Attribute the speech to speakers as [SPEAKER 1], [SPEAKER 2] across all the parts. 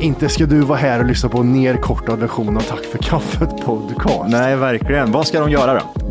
[SPEAKER 1] inte ska du vara här och lyssna på en nerkortad version av Tack för kaffet podcast.
[SPEAKER 2] Nej, verkligen. Vad ska de göra då?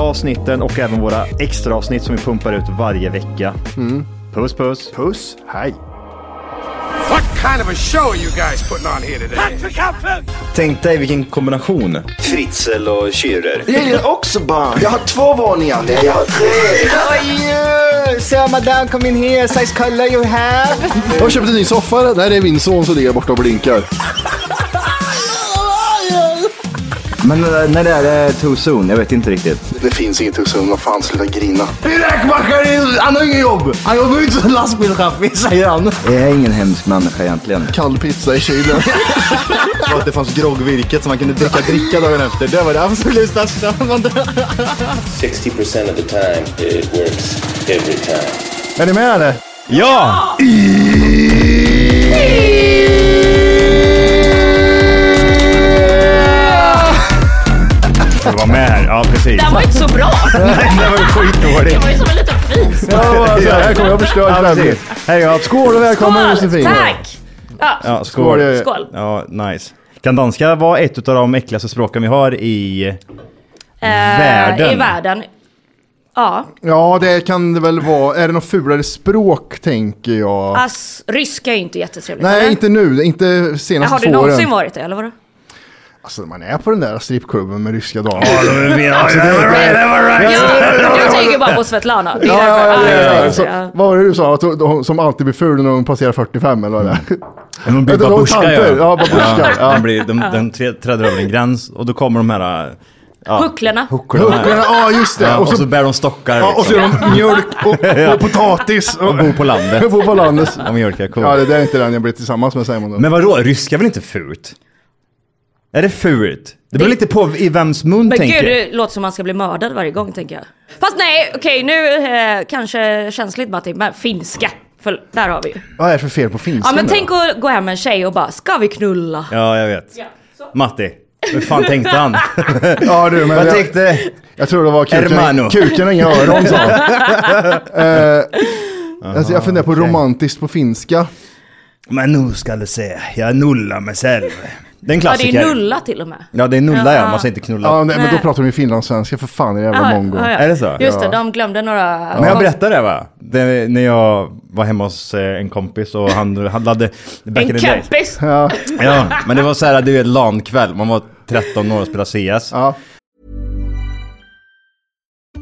[SPEAKER 2] avsnitten och även våra extra avsnitt som vi pumpar ut varje vecka.
[SPEAKER 3] Mm.
[SPEAKER 2] Puss puss!
[SPEAKER 1] Puss, hej.
[SPEAKER 4] What kind of a show are you guys putting on here today?
[SPEAKER 3] Tänk dig vilken kombination. Fritzel och Schürrer.
[SPEAKER 5] Jag gillar också barn. Jag har två våningar. Nej, jag har tre.
[SPEAKER 6] So madame, come in here, size color you have.
[SPEAKER 1] Jag har köpt en ny soffa. Nej, det är min son som ligger borta och blinkar.
[SPEAKER 3] Men eh, när det är det too soon? Jag vet inte riktigt.
[SPEAKER 5] Det finns inget hus som fan sluta grina.
[SPEAKER 3] Räkmackaren, han har inget jobb! Han jobbar inte som lastbilschaffis, säger han. Jag är ingen hemsk människa egentligen.
[SPEAKER 1] Kall pizza i kylen.
[SPEAKER 2] Och att det fanns groggvirket som man kunde dricka dricka dagen efter. Det var det absolut största.
[SPEAKER 7] 60% of the time, it works every time.
[SPEAKER 1] är ni med eller?
[SPEAKER 2] Ja! Du var med här, ja precis.
[SPEAKER 8] Det här var ju inte så bra.
[SPEAKER 2] Det var ju
[SPEAKER 8] Det
[SPEAKER 2] skitdåligt.
[SPEAKER 8] var ju som en liten fis.
[SPEAKER 1] Här kommer jag förstöra
[SPEAKER 2] Ja,
[SPEAKER 1] kvällen.
[SPEAKER 2] precis. Hej då.
[SPEAKER 1] Skål och välkommen
[SPEAKER 8] Skål!
[SPEAKER 1] Josefin.
[SPEAKER 8] Tack! Ja,
[SPEAKER 2] Ja, skål.
[SPEAKER 8] Skål.
[SPEAKER 2] Ja, nice. Kan danska vara ett av de äckligaste språken vi har i...
[SPEAKER 8] eh,
[SPEAKER 2] världen.
[SPEAKER 8] I världen. Ja,
[SPEAKER 1] Ja, det kan det väl vara. Är det något fulare språk tänker jag?
[SPEAKER 8] ass, ryska är ju inte jättetrevligt.
[SPEAKER 1] Nej,
[SPEAKER 8] eller?
[SPEAKER 1] inte nu. Inte
[SPEAKER 8] Ja,
[SPEAKER 1] senaste
[SPEAKER 8] Har
[SPEAKER 1] två
[SPEAKER 8] du
[SPEAKER 1] åren.
[SPEAKER 8] någonsin varit det, eller vadå?
[SPEAKER 1] Alltså, man är på den där strippklubben med ryska damer.
[SPEAKER 8] Jag, jag tänker bara på Svetlana. Det är
[SPEAKER 1] Ja,
[SPEAKER 8] därför.
[SPEAKER 1] ja, ja,
[SPEAKER 8] just
[SPEAKER 1] ja, ja. Så,
[SPEAKER 8] det, just det, ja.
[SPEAKER 1] vad var det du sa? Att hon- hon- Som alltid blir ful när hon passerar 45 eller vad det är?
[SPEAKER 2] De blir
[SPEAKER 1] Ja, de- de
[SPEAKER 2] babushka
[SPEAKER 1] tanter.
[SPEAKER 2] ja.
[SPEAKER 1] Ja, babushka, ja.
[SPEAKER 2] De, blir, de, de tre- träder över en gräns och då kommer de här... äh, Ja,
[SPEAKER 8] Hucklarna.
[SPEAKER 2] huckorna här.
[SPEAKER 1] Ja, just det.
[SPEAKER 2] Ja, och, så, bär de stockar
[SPEAKER 1] ja, och så
[SPEAKER 2] liksom.
[SPEAKER 1] gör de mjölk och, och potatis. Och,
[SPEAKER 2] De bor på landet.
[SPEAKER 1] bor på landet.
[SPEAKER 2] De mjölkar kor.
[SPEAKER 1] Ja, det där är inte den jag blir tillsammans med säger man då.
[SPEAKER 2] Men vadå, ryska är väl inte fult? Är det fult? Det beror
[SPEAKER 8] Det-
[SPEAKER 2] lite på i vems mun
[SPEAKER 8] Men
[SPEAKER 2] tänker.
[SPEAKER 8] gud, det låter som man ska bli mördad varje gång tänker jag. Fast nej, okej nu eh, kanske känsligt Matti, men finska. För där har vi ju.
[SPEAKER 1] Vad är det för fel på
[SPEAKER 8] Ja
[SPEAKER 1] finskan
[SPEAKER 8] men
[SPEAKER 1] då?
[SPEAKER 8] tänk att gå hem med en tjej och bara, ska vi knulla?
[SPEAKER 2] Ja, jag vet. Matti, hur fan tänkte han?
[SPEAKER 1] Ja du, men
[SPEAKER 2] Vad
[SPEAKER 1] jag,
[SPEAKER 2] tänkte...
[SPEAKER 1] jag tror det var kuken,
[SPEAKER 2] Hermano.
[SPEAKER 1] kuken och inga öron sa Eh, alltså, Jag funderar på romantiskt på finska.
[SPEAKER 2] Men nu ska du se, jag nullar mig själv. Det är en
[SPEAKER 8] Ja det
[SPEAKER 2] klassiker.
[SPEAKER 8] är ju nulla till och med.
[SPEAKER 2] Ja, det är nulla ja,
[SPEAKER 8] Ja.
[SPEAKER 2] man säger inte knulla.
[SPEAKER 1] Ja, nej, men då
[SPEAKER 8] Nej.
[SPEAKER 1] pratar de ju finlandssvenska för fan i det jävla
[SPEAKER 8] Ja,
[SPEAKER 1] mongo.
[SPEAKER 8] ja, ja.
[SPEAKER 2] Är det så?
[SPEAKER 8] Just det,
[SPEAKER 1] Ja.
[SPEAKER 8] de glömde några...
[SPEAKER 2] Men jag berättade det va? Det, när jag var hemma hos eh, en kompis och han handlade... Back in
[SPEAKER 8] En
[SPEAKER 2] the days.
[SPEAKER 8] kompis.
[SPEAKER 1] Ja.
[SPEAKER 2] Ja, men det var så här, du vet LAN-kväll. Man var 13 år och spelade CS.
[SPEAKER 1] Ja.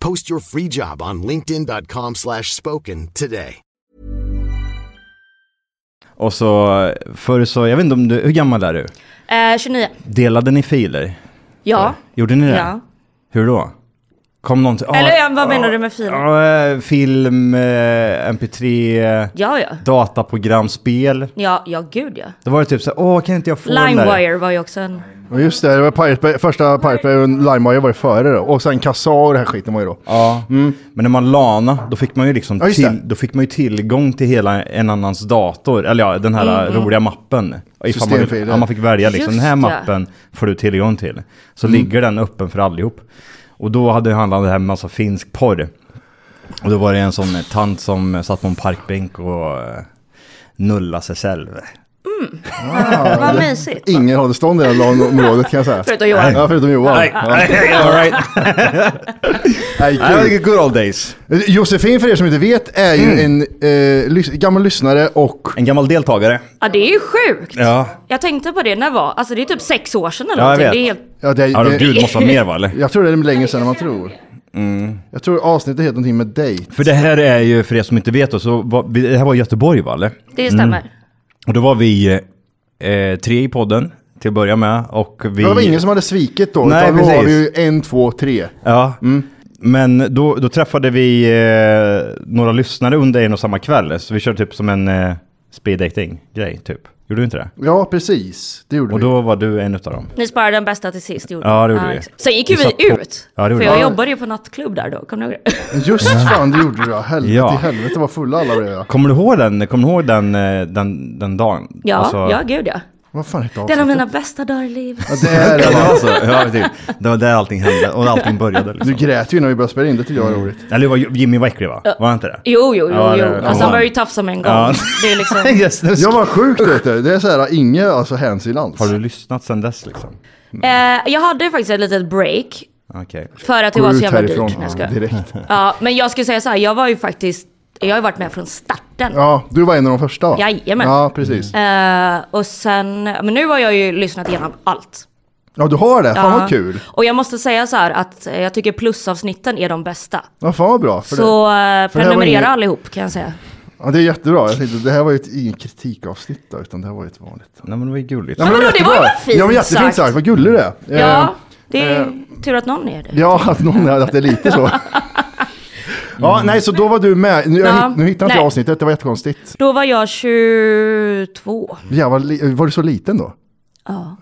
[SPEAKER 4] Post your free job on linkedin.com/spoken slash spoken today.
[SPEAKER 2] Och så förr så, jag vet inte om du, hur gammal är du?
[SPEAKER 8] Eh, 29.
[SPEAKER 2] Delade ni filer?
[SPEAKER 8] Ja.
[SPEAKER 2] Gjorde ni det?
[SPEAKER 8] ja.
[SPEAKER 2] Hur då? Kom någon till, ah,
[SPEAKER 8] Eller ja, vad menar du med film?
[SPEAKER 2] ja, eh, film, eh, mp3, eh,
[SPEAKER 8] Ja, ja.
[SPEAKER 2] dataprogram, spel.
[SPEAKER 8] Ja, ja gud ja.
[SPEAKER 2] Då var det typ så här, åh kan inte jag få den där?
[SPEAKER 8] Limewire var ju också en...
[SPEAKER 1] Och just det, det var Pirate Bay, första Pirate Bay och Lime var ju före då. Och sen Kassa och den här skiten var ju då.
[SPEAKER 2] Ja. Mm. Men när man lana, då fick man ju liksom
[SPEAKER 1] Ja, just det.
[SPEAKER 2] till, då fick man ju tillgång till hela en annans dator. Eller ja, den här
[SPEAKER 1] Mm, mm.
[SPEAKER 2] roliga mappen. Ifall man,
[SPEAKER 1] Systemfilen.
[SPEAKER 2] ja, man fick välja liksom,
[SPEAKER 1] Just
[SPEAKER 2] den här
[SPEAKER 1] det.
[SPEAKER 2] mappen får du tillgång till. Så
[SPEAKER 1] Mm.
[SPEAKER 2] ligger den öppen för allihop. Och då hade det handlat om det här med massa finsk porr. Och då var det en sån eh, tant som eh, satt på en parkbänk och eh, nullade sig själv.
[SPEAKER 8] Vad mysigt.
[SPEAKER 1] Ingen hade stånd i det här området kan jag säga.
[SPEAKER 8] Förutom Johan.
[SPEAKER 1] Ja, förutom Johan.
[SPEAKER 8] Nej,
[SPEAKER 1] Ja.
[SPEAKER 8] nej, all right.
[SPEAKER 1] Nej, kul.
[SPEAKER 2] Ja, det är good old days.
[SPEAKER 1] Josefin, för er som inte vet, är ju en eh, lys- gammal lyssnare och...
[SPEAKER 2] En gammal deltagare.
[SPEAKER 8] Ja det är ju sjukt.
[SPEAKER 2] Ja.
[SPEAKER 8] Jag tänkte på det när var, alltså det är typ sex år sedan eller
[SPEAKER 1] Ja, jag
[SPEAKER 8] någonting.
[SPEAKER 1] vet.
[SPEAKER 8] Det är helt...
[SPEAKER 1] Ja, det,
[SPEAKER 2] Ja, då, gud, måste vara mer, va, eller?
[SPEAKER 1] Jag tror det är längre sedan än man tror. Jag tror avsnittet heter någonting med dejt.
[SPEAKER 2] För det här är ju, för er som inte vet, då, så var, vi- det här var i Göteborg va? Eller?
[SPEAKER 8] Det stämmer.
[SPEAKER 2] Mm. Och då var vi eh, tre i podden till att börja med. Och vi...
[SPEAKER 1] Ja, Det var ingen som hade svikit då,
[SPEAKER 2] Nej,
[SPEAKER 1] utan då var
[SPEAKER 2] precis.
[SPEAKER 1] vi ju en, två, tre.
[SPEAKER 2] Ja.
[SPEAKER 1] Mm.
[SPEAKER 2] Men då, då träffade vi eh, några lyssnare under en och samma kväll. Så vi körde typ som en eh, speed dating grej typ. Gjorde du inte det?
[SPEAKER 1] Ja, precis. Det gjorde
[SPEAKER 2] och vi. Och då var du en utav dem.
[SPEAKER 8] Ni sparade den bästa till sist gjorde
[SPEAKER 2] Ja,
[SPEAKER 8] ni.
[SPEAKER 2] det gjorde vi.
[SPEAKER 8] exakt. Sen gick ju
[SPEAKER 2] Vi satt
[SPEAKER 8] vi
[SPEAKER 2] på-
[SPEAKER 8] ut.
[SPEAKER 2] Ja, det gjorde
[SPEAKER 8] för
[SPEAKER 2] vi.
[SPEAKER 8] jag jobbade ju på nattklubb där då, kommer du ihåg det?
[SPEAKER 1] Just fan, det gjorde du ja. Helvete
[SPEAKER 2] Ja.
[SPEAKER 1] i helvete vad fulla alla blev. ja.
[SPEAKER 2] Kommer du ihåg den, kommer du ihåg den, eh, den, den dagen?
[SPEAKER 8] Ja,
[SPEAKER 2] Alltså-
[SPEAKER 8] ja gud ja.
[SPEAKER 1] Vad fan hette
[SPEAKER 8] Det är en av mina bästa dagar i livet.
[SPEAKER 1] det är det.
[SPEAKER 2] var så. Ja, precis. Det var där allting hände och allting började. Liksom.
[SPEAKER 1] Du grät ju innan vi började spela in, det tyckte jag var roligt.
[SPEAKER 2] Eller var Jimmy var äcklig va?
[SPEAKER 8] Ja.
[SPEAKER 2] Var han inte det?
[SPEAKER 8] Jo, jo, jo,
[SPEAKER 2] Ja,
[SPEAKER 8] jo.
[SPEAKER 2] det- kom
[SPEAKER 8] Alltså han
[SPEAKER 2] han.
[SPEAKER 8] var ju tafsa med en gång.
[SPEAKER 2] Ja.
[SPEAKER 8] Det är liksom...
[SPEAKER 1] jag var sjukt vet du. Det är så här, inga alltså, hänsyn alls. Har
[SPEAKER 2] du lyssnat sen dess liksom?
[SPEAKER 8] eh, jag hade ju faktiskt ett litet break.
[SPEAKER 2] Okej.
[SPEAKER 8] För att det var så jävla dyrt. Nej, jag skojar.
[SPEAKER 1] direkt.
[SPEAKER 8] Ja, men jag skulle säga så här, jag var ju faktiskt, jag har ju varit med från starten.
[SPEAKER 1] Ja, du var en av de första va?
[SPEAKER 8] Jajamän.
[SPEAKER 1] Ja, precis.
[SPEAKER 8] Eh, och sen, men nu har jag ju lyssnat igenom allt.
[SPEAKER 1] Ja, du har det. Fan
[SPEAKER 8] Ja.
[SPEAKER 1] vad kul.
[SPEAKER 8] Och jag måste säga så här att eh, jag tycker plusavsnitten är de bästa.
[SPEAKER 1] Ja, fan vad bra. För
[SPEAKER 8] Så
[SPEAKER 1] det. För
[SPEAKER 8] eh,
[SPEAKER 1] det här var
[SPEAKER 8] prenumerera
[SPEAKER 1] inget-
[SPEAKER 8] allihop kan jag säga.
[SPEAKER 1] Ja, det är jättebra. Jag tänkte, det här var ju ett, ingen kritikavsnitt då, utan det här var ju ett vanligt.
[SPEAKER 2] Nej, men det var ju gulligt.
[SPEAKER 8] Ja, men det var ju fint
[SPEAKER 1] Ja, men jättefint
[SPEAKER 8] sagt.
[SPEAKER 1] sagt. Vad gullig du är. Eh,
[SPEAKER 8] Ja, det är
[SPEAKER 1] eh,
[SPEAKER 8] tur att någon är det.
[SPEAKER 1] Ja, att någon hade att det är lite så. Ja, nej, så då var du med. Nu, jag
[SPEAKER 8] Ja,
[SPEAKER 1] hitt- nu hittade inte jag
[SPEAKER 8] nej.
[SPEAKER 1] avsnittet, det var jättekonstigt.
[SPEAKER 8] Då var jag 22.
[SPEAKER 1] Ja, var, li- var du så liten då?
[SPEAKER 8] Ja.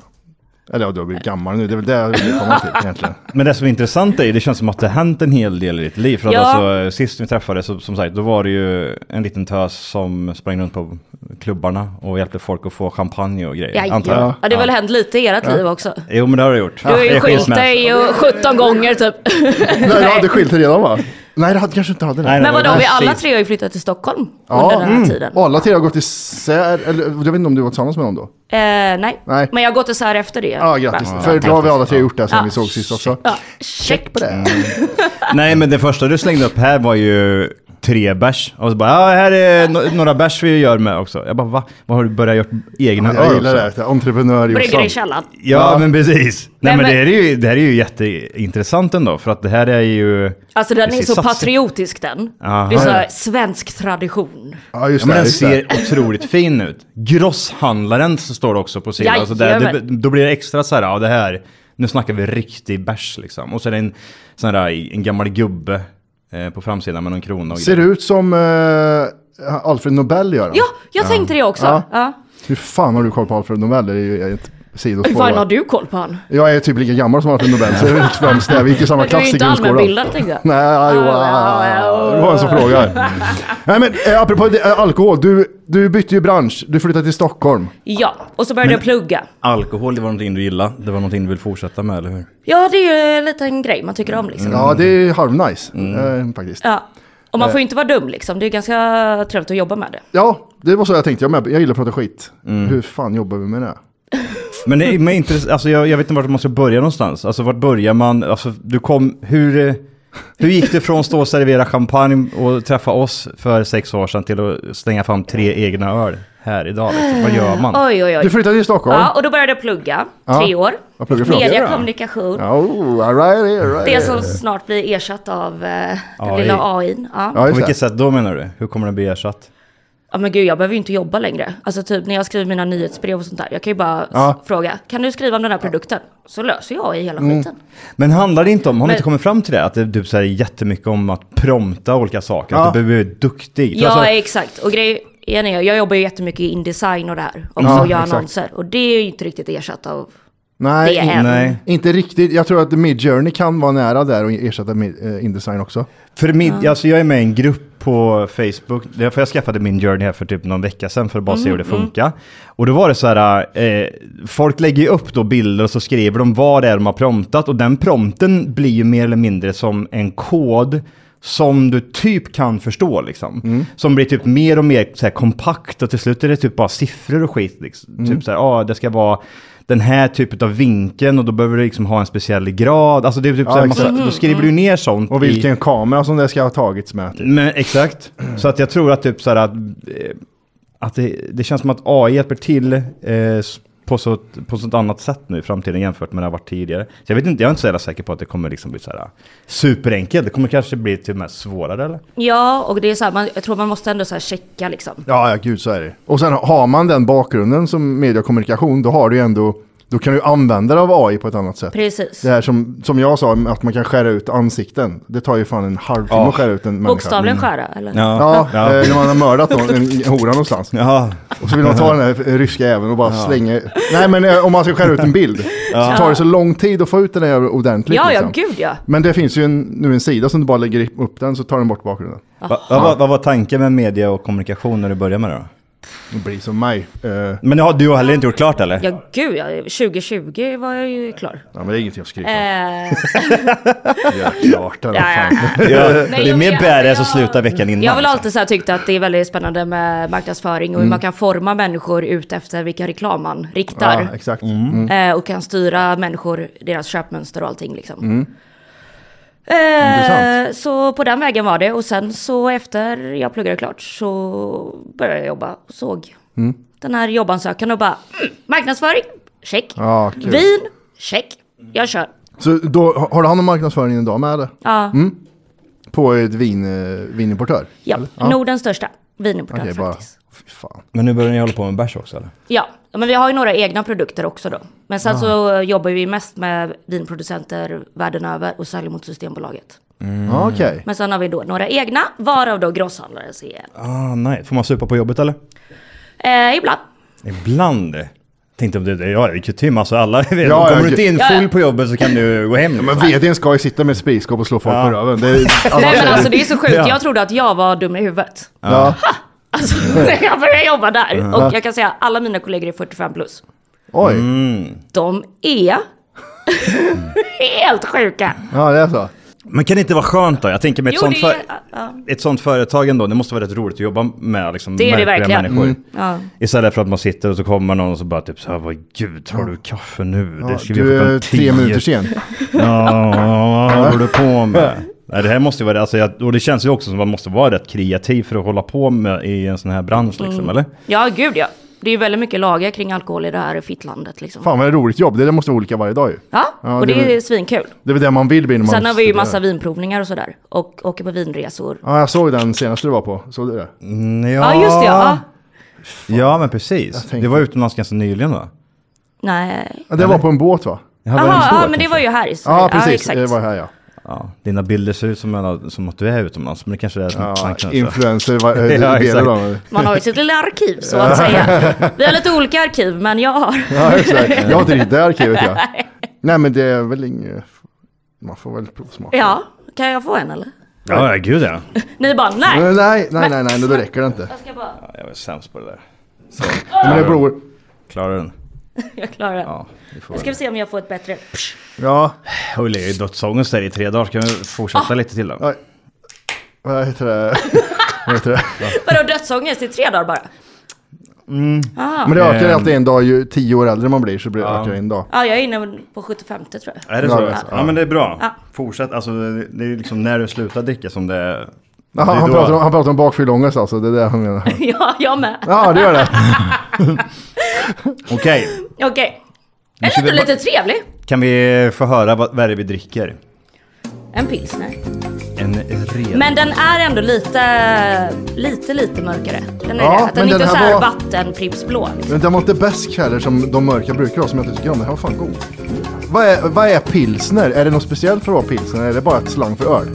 [SPEAKER 1] Eller ja, du har blivit gammal nu, det är väl det jag vill komma till egentligen.
[SPEAKER 2] Men det som är intressant är ju, det känns som att det har hänt en hel del i ditt liv. För att
[SPEAKER 8] Ja.
[SPEAKER 2] alltså, sist vi träffades, så, som sagt, då var det ju en liten tös som sprang runt på klubbarna och hjälpte folk att få champagne och grejer.
[SPEAKER 8] Ja, ja. ja, det har väl hänt lite i ert
[SPEAKER 2] Ja.
[SPEAKER 8] liv också.
[SPEAKER 2] Jo, men det har du gjort.
[SPEAKER 8] Du har
[SPEAKER 2] Det
[SPEAKER 8] ju
[SPEAKER 2] är
[SPEAKER 8] skilt
[SPEAKER 2] skilsmässa.
[SPEAKER 8] dig och 17 gånger typ.
[SPEAKER 1] Nej, du hade skilt dig redan va? Nej, du hade, kanske inte hade det.
[SPEAKER 8] Men vadå, vi alla tre har ju flyttat till Stockholm under den här
[SPEAKER 1] mm.
[SPEAKER 8] tiden.
[SPEAKER 1] Och alla tre har gått isär, eller jag vet inte om du var tillsammans med någon då?
[SPEAKER 8] Eh, nej.
[SPEAKER 1] Nej.
[SPEAKER 8] men jag har gått isär efter det.
[SPEAKER 1] Ja, grattis.
[SPEAKER 2] Ja,
[SPEAKER 1] För då har vi alla tre gjort det sen
[SPEAKER 8] Ja.
[SPEAKER 1] vi såg sist också.
[SPEAKER 8] Ja, check på
[SPEAKER 1] Mm,
[SPEAKER 8] det.
[SPEAKER 2] Nej, men det första du slängde upp här var ju tre bärs. Och så bara, ja, här är no- några bärs vi gör med också. Jag bara, va? Vad har du börjat göra egna
[SPEAKER 1] Jag gillar
[SPEAKER 2] öl
[SPEAKER 1] det,
[SPEAKER 2] också?
[SPEAKER 1] här, det här, entreprenör
[SPEAKER 8] Brygger i
[SPEAKER 1] Jossan.
[SPEAKER 8] källaren.
[SPEAKER 2] Ja,
[SPEAKER 1] Ja.
[SPEAKER 2] men precis. Nej, men,
[SPEAKER 8] Nej, men-
[SPEAKER 2] Det, här är ju, det här är ju jätteintressant ändå, för att det här är ju...
[SPEAKER 8] Alltså den är
[SPEAKER 2] Precis,
[SPEAKER 8] så
[SPEAKER 2] satsning.
[SPEAKER 8] patriotisk den.
[SPEAKER 2] Aha.
[SPEAKER 8] Det är så här,
[SPEAKER 2] Ja.
[SPEAKER 8] svensk tradition.
[SPEAKER 1] Ja,
[SPEAKER 2] Ja, men den ser otroligt fin ut. Grosshandlaren så står det också på sidan. Så där, det,
[SPEAKER 8] Jajamän.
[SPEAKER 2] då blir det extra så här, ja det här, nu snackar vi riktig bärs liksom. Och så är det en, sån där, en gammal gubbe eh, på framsidan med någon krona och
[SPEAKER 1] Ser
[SPEAKER 2] grejer.
[SPEAKER 1] ut som eh, Alfred Nobel gör den.
[SPEAKER 8] Ja, jag tänkte det också.
[SPEAKER 1] Ja.
[SPEAKER 8] Ja.
[SPEAKER 1] Hur fan har du koll på Alfred Nobel? Det är ju ett
[SPEAKER 8] Hur
[SPEAKER 1] sidospår.
[SPEAKER 8] fan
[SPEAKER 1] va?
[SPEAKER 8] har du koll på han?
[SPEAKER 1] Jag är typ lika gammal som Alfred Nobel, så det är inte främst det. Vi gick i samma
[SPEAKER 8] Men du är
[SPEAKER 1] klass
[SPEAKER 8] ju
[SPEAKER 1] i
[SPEAKER 8] inte
[SPEAKER 1] grundskolan.
[SPEAKER 8] allmänbildad tänkte jag.
[SPEAKER 1] Nej, ah, jo, ah, det var en som frågar. Nej men eh, apropå det, eh, alkohol, du, du bytte ju bransch, du flyttade till Stockholm.
[SPEAKER 8] Ja, och så började
[SPEAKER 2] Men-
[SPEAKER 8] jag plugga.
[SPEAKER 2] Alkohol, det var någonting du gillade. Det var någonting du vill fortsätta med, eller hur?
[SPEAKER 8] Ja, det är ju en liten grej man tycker om liksom.
[SPEAKER 1] Ja, det är halvnice eh, faktiskt.
[SPEAKER 8] Ja. Och
[SPEAKER 1] Eh.
[SPEAKER 8] man får ju inte vara dum liksom. Det är ganska trevligt att jobba med det.
[SPEAKER 1] Ja, det var så jag tänkte, jag, med, jag gillar att prata skit. Hur fan jobbar vi med det?
[SPEAKER 2] Men det är men intress- alltså jag, jag vet inte vart man ska börja någonstans. Alltså vart börjar man? Alltså du kom, hur, eh, hur gick det från att stå och servera champagne och träffa oss för sex år sedan till att slänga fram tre egna öl här idag? Liksom? Vad gör man?
[SPEAKER 8] Oj, oj, oj.
[SPEAKER 1] Du flyttade till Stockholm.
[SPEAKER 8] Ja, och då började jag plugga.
[SPEAKER 1] Ja.
[SPEAKER 8] Tre år.
[SPEAKER 1] Vad pluggar du för
[SPEAKER 8] Media
[SPEAKER 1] något?
[SPEAKER 8] och kommunikation.
[SPEAKER 1] Ja, oh, all right, all right.
[SPEAKER 8] Det som snart blir ersatt av eh, den
[SPEAKER 2] AI.
[SPEAKER 8] lilla AIn. Ja.
[SPEAKER 2] På vilket sätt då menar du? Hur kommer den bli ersatt?
[SPEAKER 8] Ja men gud jag behöver ju inte jobba längre. Alltså typ när jag skriver mina nyhetsbrev och sånt där. Jag kan ju bara s-
[SPEAKER 2] Ja.
[SPEAKER 8] fråga, kan du skriva om den här produkten? Så löser jag i hela
[SPEAKER 2] Mm.
[SPEAKER 8] skiten.
[SPEAKER 2] Men handlar det inte om, har ni
[SPEAKER 8] Men-
[SPEAKER 2] inte kommit fram till det, att det typ så här, är jättemycket om att prompta olika saker?
[SPEAKER 8] Ja.
[SPEAKER 2] Att du behöver bli duktig? För
[SPEAKER 8] Ja
[SPEAKER 2] alltså,
[SPEAKER 8] exakt. Och grejen är, jag jobbar ju jättemycket i Indesign och det här. Också
[SPEAKER 2] Ja,
[SPEAKER 8] och gör
[SPEAKER 2] exakt.
[SPEAKER 8] annonser. Och det är ju inte riktigt ersatt av
[SPEAKER 1] Nej,
[SPEAKER 8] Det är
[SPEAKER 1] in,
[SPEAKER 8] en. Nej.
[SPEAKER 1] inte riktigt. Jag tror att Midjourney kan vara nära där och ersätta Mid- eh, Indesign också.
[SPEAKER 2] För min, alltså jag är med i en grupp på Facebook, för jag skaffade min journey här för typ någon vecka sedan för att bara se hur det
[SPEAKER 1] Mm, mm.
[SPEAKER 2] funkar. Och då var det så här, eh, folk lägger ju upp då bilder och så skriver de vad det är de har promptat och den prompten blir ju mer eller mindre som en kod som du typ kan förstå liksom.
[SPEAKER 1] Mm.
[SPEAKER 2] Som blir typ mer och mer så här, kompakt och till slut är det typ bara siffror och skit. Liksom.
[SPEAKER 6] Mm.
[SPEAKER 2] Typ så här, ah, det ska vara den här typen av vinkeln och då behöver du liksom ha en speciell grad. Alltså det är typ
[SPEAKER 1] Ja,
[SPEAKER 2] så här, massa,
[SPEAKER 1] exakt.
[SPEAKER 2] då skriver du ner sånt.
[SPEAKER 1] Och
[SPEAKER 2] i-
[SPEAKER 1] vilken kamera som det ska ha tagits med. Typ.
[SPEAKER 2] men, exakt. Så att jag tror att typ så här att, eh, att det, det känns som att AI hjälper till eh, s- på så, på så ett annat sätt nu i framtiden jämfört med det har varit tidigare. Så jag vet inte, jag är inte så jävla säker på att det kommer liksom bli så här superenkelt. Det kommer kanske bli till och med svårare eller?
[SPEAKER 8] Ja, och det är så här, man, jag tror man måste ändå så här checka liksom.
[SPEAKER 1] Ja, ja, gud så är det. Och sen har man den bakgrunden som mediekommunikation, då har du ju ändå, då kan du använda dig av AI på ett annat sätt.
[SPEAKER 8] Precis.
[SPEAKER 1] Det här som, som jag sa, att man kan skära ut ansikten. Det tar ju fan en halvtimme
[SPEAKER 8] Ja.
[SPEAKER 1] att skära ut en människa. Mm.
[SPEAKER 8] Bokstavligen skära, eller?
[SPEAKER 1] Ja,
[SPEAKER 2] Ja.
[SPEAKER 1] eh, när man har mördat någon, en hora någonstans. Och så vill man ta den här eh, ryska även och bara
[SPEAKER 2] Ja.
[SPEAKER 1] slänga. Nej men eh, om man ska skära ut en bild
[SPEAKER 2] Ja.
[SPEAKER 1] så tar det så lång tid att få ut den här ordentligt.
[SPEAKER 8] Ja, ja,
[SPEAKER 1] liksom.
[SPEAKER 8] gud ja.
[SPEAKER 1] Men det finns ju en, nu en sida som du bara lägger upp den så tar den bort bakgrunden.
[SPEAKER 2] Va- Vad vad- vad var tanken med media och kommunikation när du började med det då?
[SPEAKER 1] Det blir som mig. Eh,
[SPEAKER 2] Men ja, du har heller inte gjort klart eller?
[SPEAKER 8] Ja, gud ja. 2020 var jag ju klar.
[SPEAKER 1] Ja, men det är inget jag skriver.
[SPEAKER 8] Eh,
[SPEAKER 1] Klart
[SPEAKER 8] Ja, ja,
[SPEAKER 2] Ja,
[SPEAKER 8] ja.
[SPEAKER 2] det är mer badass att sluta veckan innan.
[SPEAKER 8] jag har väl alltid så här tyckt att det är väldigt spännande med marknadsföring och hur
[SPEAKER 2] Mm.
[SPEAKER 8] man kan forma människor ut efter vilken reklam man riktar.
[SPEAKER 1] Ja, exakt. Mm.
[SPEAKER 8] Eh, och kan styra människor, deras köpmönster och allting liksom.
[SPEAKER 1] Mm.
[SPEAKER 8] Eh,
[SPEAKER 1] Intressant.
[SPEAKER 8] så på den vägen var det och sen så efter jag pluggade klart så började jag jobba och såg
[SPEAKER 1] Mm.
[SPEAKER 8] den här jobbansökan och bara mm, marknadsföring, check.
[SPEAKER 1] Ja, kul.
[SPEAKER 8] Vin, check. Jag kör.
[SPEAKER 1] Så då, har- har du hand om marknadsföringen idag med eller?
[SPEAKER 8] Ja.
[SPEAKER 1] Mm. På ett vin, eh, vinimportör?
[SPEAKER 8] Ja,
[SPEAKER 1] eller?
[SPEAKER 8] Nordens största vinimportör
[SPEAKER 1] Okej, bara.
[SPEAKER 8] faktiskt.
[SPEAKER 2] Men nu börjar ni hålla på med bärs också eller?
[SPEAKER 8] Ja, men vi har ju några egna produkter också då. Men sen
[SPEAKER 2] Ah.
[SPEAKER 8] så jobbar vi mest med vinproducenter världen över och säljer mot Systembolaget.
[SPEAKER 2] Mm.
[SPEAKER 8] Men sen har vi då några egna, varav då grosshandlarens är
[SPEAKER 2] Ah, nej. Får man supa på jobbet eller?
[SPEAKER 8] eh, ibland.
[SPEAKER 2] Ibland. Tänkte om det, det- ja, det är kutym alltså. Alla,
[SPEAKER 1] ja,
[SPEAKER 2] kommer du
[SPEAKER 1] gud.
[SPEAKER 2] inte in
[SPEAKER 8] Ja, ja.
[SPEAKER 2] full på jobbet så kan du gå hem.
[SPEAKER 1] Ja, men vdn ska ju sitta med ett spritskåp och slå folk på röven. Det är,
[SPEAKER 8] Nej
[SPEAKER 1] annars
[SPEAKER 8] men alltså det är så sjukt,
[SPEAKER 1] Ja.
[SPEAKER 8] jag trodde att jag var dum i huvudet.
[SPEAKER 1] Ja.
[SPEAKER 8] Alltså när jag började jobba där.
[SPEAKER 1] Ja.
[SPEAKER 8] Och jag kan säga alla mina kollegor är 45 plus.
[SPEAKER 1] Oj.
[SPEAKER 8] De är helt sjuka.
[SPEAKER 1] Ja, det är så.
[SPEAKER 2] Men kan det inte vara skönt då? Jag tänker med ett,
[SPEAKER 8] Jo,
[SPEAKER 2] sånt,
[SPEAKER 8] det
[SPEAKER 2] för,
[SPEAKER 8] är- ja.
[SPEAKER 2] ett sånt företag ändå, det måste vara rätt roligt att jobba med liksom,
[SPEAKER 8] Det är det
[SPEAKER 2] märkliga
[SPEAKER 8] verkligen.
[SPEAKER 2] människor.
[SPEAKER 8] Mm. Ja.
[SPEAKER 2] Istället för att man sitter och så kommer någon och så bara typ så här, vad gud, har du kaffe nu?
[SPEAKER 1] Ja,
[SPEAKER 2] ska vi
[SPEAKER 1] du
[SPEAKER 2] göra klockan
[SPEAKER 1] är tre
[SPEAKER 2] 10."
[SPEAKER 1] minuter sen.
[SPEAKER 2] Ja, vad håller du på med? Nej, det här måste ju vara, alltså, jag, och det känns ju också som att man måste vara rätt kreativ för att hålla på med i en sån här bransch liksom,
[SPEAKER 8] Mm.
[SPEAKER 2] eller?
[SPEAKER 8] Ja gud ja. Det är ju väldigt mycket lagar kring alkohol i det här fittlandet liksom.
[SPEAKER 1] Fan vad roligt jobb. Det där måste vara olika varje dag ju.
[SPEAKER 8] Ja, och det,
[SPEAKER 1] väl-
[SPEAKER 8] är svinkul.
[SPEAKER 1] Det är väl det man vill bli när man
[SPEAKER 8] Sen har vi ju
[SPEAKER 1] studerar.
[SPEAKER 8] massa vinprovningar och sådär. Och åker på vinresor.
[SPEAKER 1] Ja, jag såg den senaste du var på. Såg du det?
[SPEAKER 8] Ja, just det ja.
[SPEAKER 2] Ja, men precis. Det var utomlands ganska nyligen va?
[SPEAKER 8] Nej.
[SPEAKER 1] Ja, det var på en båt va?
[SPEAKER 2] var det en
[SPEAKER 8] Jaha,
[SPEAKER 2] stor,
[SPEAKER 8] ja, men det
[SPEAKER 2] kanske?
[SPEAKER 8] var ju här i Sverige.
[SPEAKER 1] Ja, precis.
[SPEAKER 8] exakt.
[SPEAKER 1] det var här ja.
[SPEAKER 2] Ja, dina bilder ser ut som, alla, som att du är utomlands, men det kanske är
[SPEAKER 1] Ja,
[SPEAKER 2] tanken. alltså.
[SPEAKER 1] influencer, va- eh,
[SPEAKER 2] ja,
[SPEAKER 1] delar
[SPEAKER 2] exakt.
[SPEAKER 1] dem.
[SPEAKER 8] Man har ju sitt lilla arkiv så att säga. Vi har lite olika arkiv, men jag har.
[SPEAKER 1] Ja, exakt. Jag har inte riktigt det arkivet ja. Nej, men det är väl inget... Man får väl provsmaka.
[SPEAKER 8] Ja, kan jag få en eller?
[SPEAKER 2] Ja, ja, gud ja.
[SPEAKER 8] Ni bara nej.
[SPEAKER 1] Nej, nej, nej, nej, nej, då räcker det inte.
[SPEAKER 8] Jag ska bara,
[SPEAKER 2] Ja, jag är sämst på det där.
[SPEAKER 1] Men det beror...
[SPEAKER 2] Klarar du den?
[SPEAKER 8] jag klarar det.
[SPEAKER 2] vi får
[SPEAKER 8] jag ska
[SPEAKER 2] väl.
[SPEAKER 8] se om jag får ett bättre. Psh.
[SPEAKER 1] Ja.
[SPEAKER 2] Jag har legat i dödsångest där i tre dagar, ska vi
[SPEAKER 8] Ah.
[SPEAKER 2] fortsätta lite till då?
[SPEAKER 1] Vad heter det? Vad heter det?
[SPEAKER 8] Vadå dödsångest i tre dagar bara?
[SPEAKER 1] Mm.
[SPEAKER 8] Ah.
[SPEAKER 1] Men det ökar ju alltid en dag, ju tio år äldre man blir så blir det ökar det en dag.
[SPEAKER 8] Ja, jag är inne på 75 tror jag.
[SPEAKER 2] Är det så?
[SPEAKER 1] Ja, det är
[SPEAKER 2] Ja,
[SPEAKER 1] så. Ja.
[SPEAKER 2] men det är bra.
[SPEAKER 8] Ja.
[SPEAKER 2] Fortsätt, alltså det det är liksom när du slutar dricka som det är...
[SPEAKER 1] Ja,
[SPEAKER 2] det är
[SPEAKER 1] han, han,
[SPEAKER 2] då-
[SPEAKER 1] pratar om, han pratar om bakfylleångest alltså, det är det han menar.
[SPEAKER 8] Ja, jag med.
[SPEAKER 1] Ja, det gör det.
[SPEAKER 2] Okej,
[SPEAKER 8] Okej.
[SPEAKER 2] Nu
[SPEAKER 8] Är
[SPEAKER 2] ska
[SPEAKER 8] det inte
[SPEAKER 2] vi bara-
[SPEAKER 8] lite trevlig?
[SPEAKER 2] kan vi få höra vad, vad är det vi dricker?
[SPEAKER 8] En pilsner.
[SPEAKER 2] En red...
[SPEAKER 8] Men den är ändå lite, lite, lite mörkare. Den är
[SPEAKER 1] Ja,
[SPEAKER 8] det. Att Den
[SPEAKER 1] men
[SPEAKER 8] är inte
[SPEAKER 1] den
[SPEAKER 8] så
[SPEAKER 1] här
[SPEAKER 8] här
[SPEAKER 1] var-
[SPEAKER 8] vattenprippsblå.
[SPEAKER 1] Men den var inte bäst heller som de mörka brukar vara som jag inte tycker om. Den här var fan god. Vad är, vad är pilsner? Är det något speciellt för att vara pilsner? Är det bara ett slang för öl?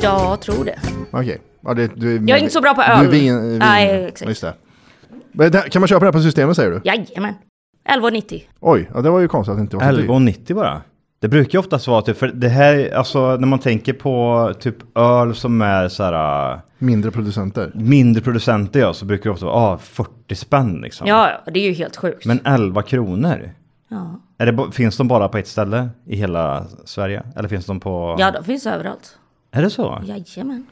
[SPEAKER 8] Jag tror det.
[SPEAKER 1] Okej. Ja, det- du
[SPEAKER 8] Jag är inte så bra på öl.
[SPEAKER 1] Du är vin, vin.
[SPEAKER 8] Nej, exakt.
[SPEAKER 1] Just det. Men det. här- Kan man köpa det här på systemet säger du?
[SPEAKER 8] Jajamän. 11,90.
[SPEAKER 1] Oj, ja, det var ju konstigt att det inte var typ så dyrt.
[SPEAKER 2] 11,90 bara. Det brukar ju oftast vara typ, för det här, alltså när man tänker på typ öl som är så här... äh,
[SPEAKER 1] Mindre producenter.
[SPEAKER 2] Mindre producenter ja, så brukar det ofta vara ah, 40 spänn liksom.
[SPEAKER 8] Ja, ja, det är ju helt sjukt.
[SPEAKER 2] Men 11 kronor?
[SPEAKER 8] Ja,
[SPEAKER 2] Är det, ba- finns de bara på ett ställe i hela Sverige? Eller finns de på...
[SPEAKER 8] ja de finns överallt.
[SPEAKER 2] Är det så?
[SPEAKER 8] Jajamän.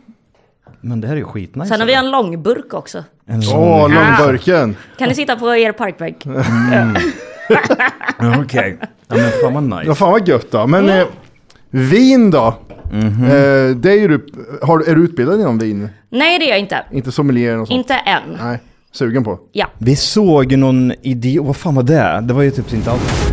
[SPEAKER 2] Men det här är ju skitnice.
[SPEAKER 8] Sen har vi en långburk också.
[SPEAKER 2] En
[SPEAKER 1] Åh, långburken!
[SPEAKER 8] Kan ni sitta på er parkbänk?
[SPEAKER 1] Mm.
[SPEAKER 2] Okej. Ja, men fan vad nice.
[SPEAKER 1] Ja, fan vad gött då. Men
[SPEAKER 8] Mm.
[SPEAKER 1] eh, vin då? Eh, det är, ju, du- har, du- är du utbildad inom vin?
[SPEAKER 8] Nej, det är jag inte.
[SPEAKER 1] Inte sommelier och sånt?
[SPEAKER 8] Inte än.
[SPEAKER 1] Nej, sugen på?
[SPEAKER 8] Ja.
[SPEAKER 2] Vi såg ju någon idiot, vad fan var det? Det var ju typ inte allt.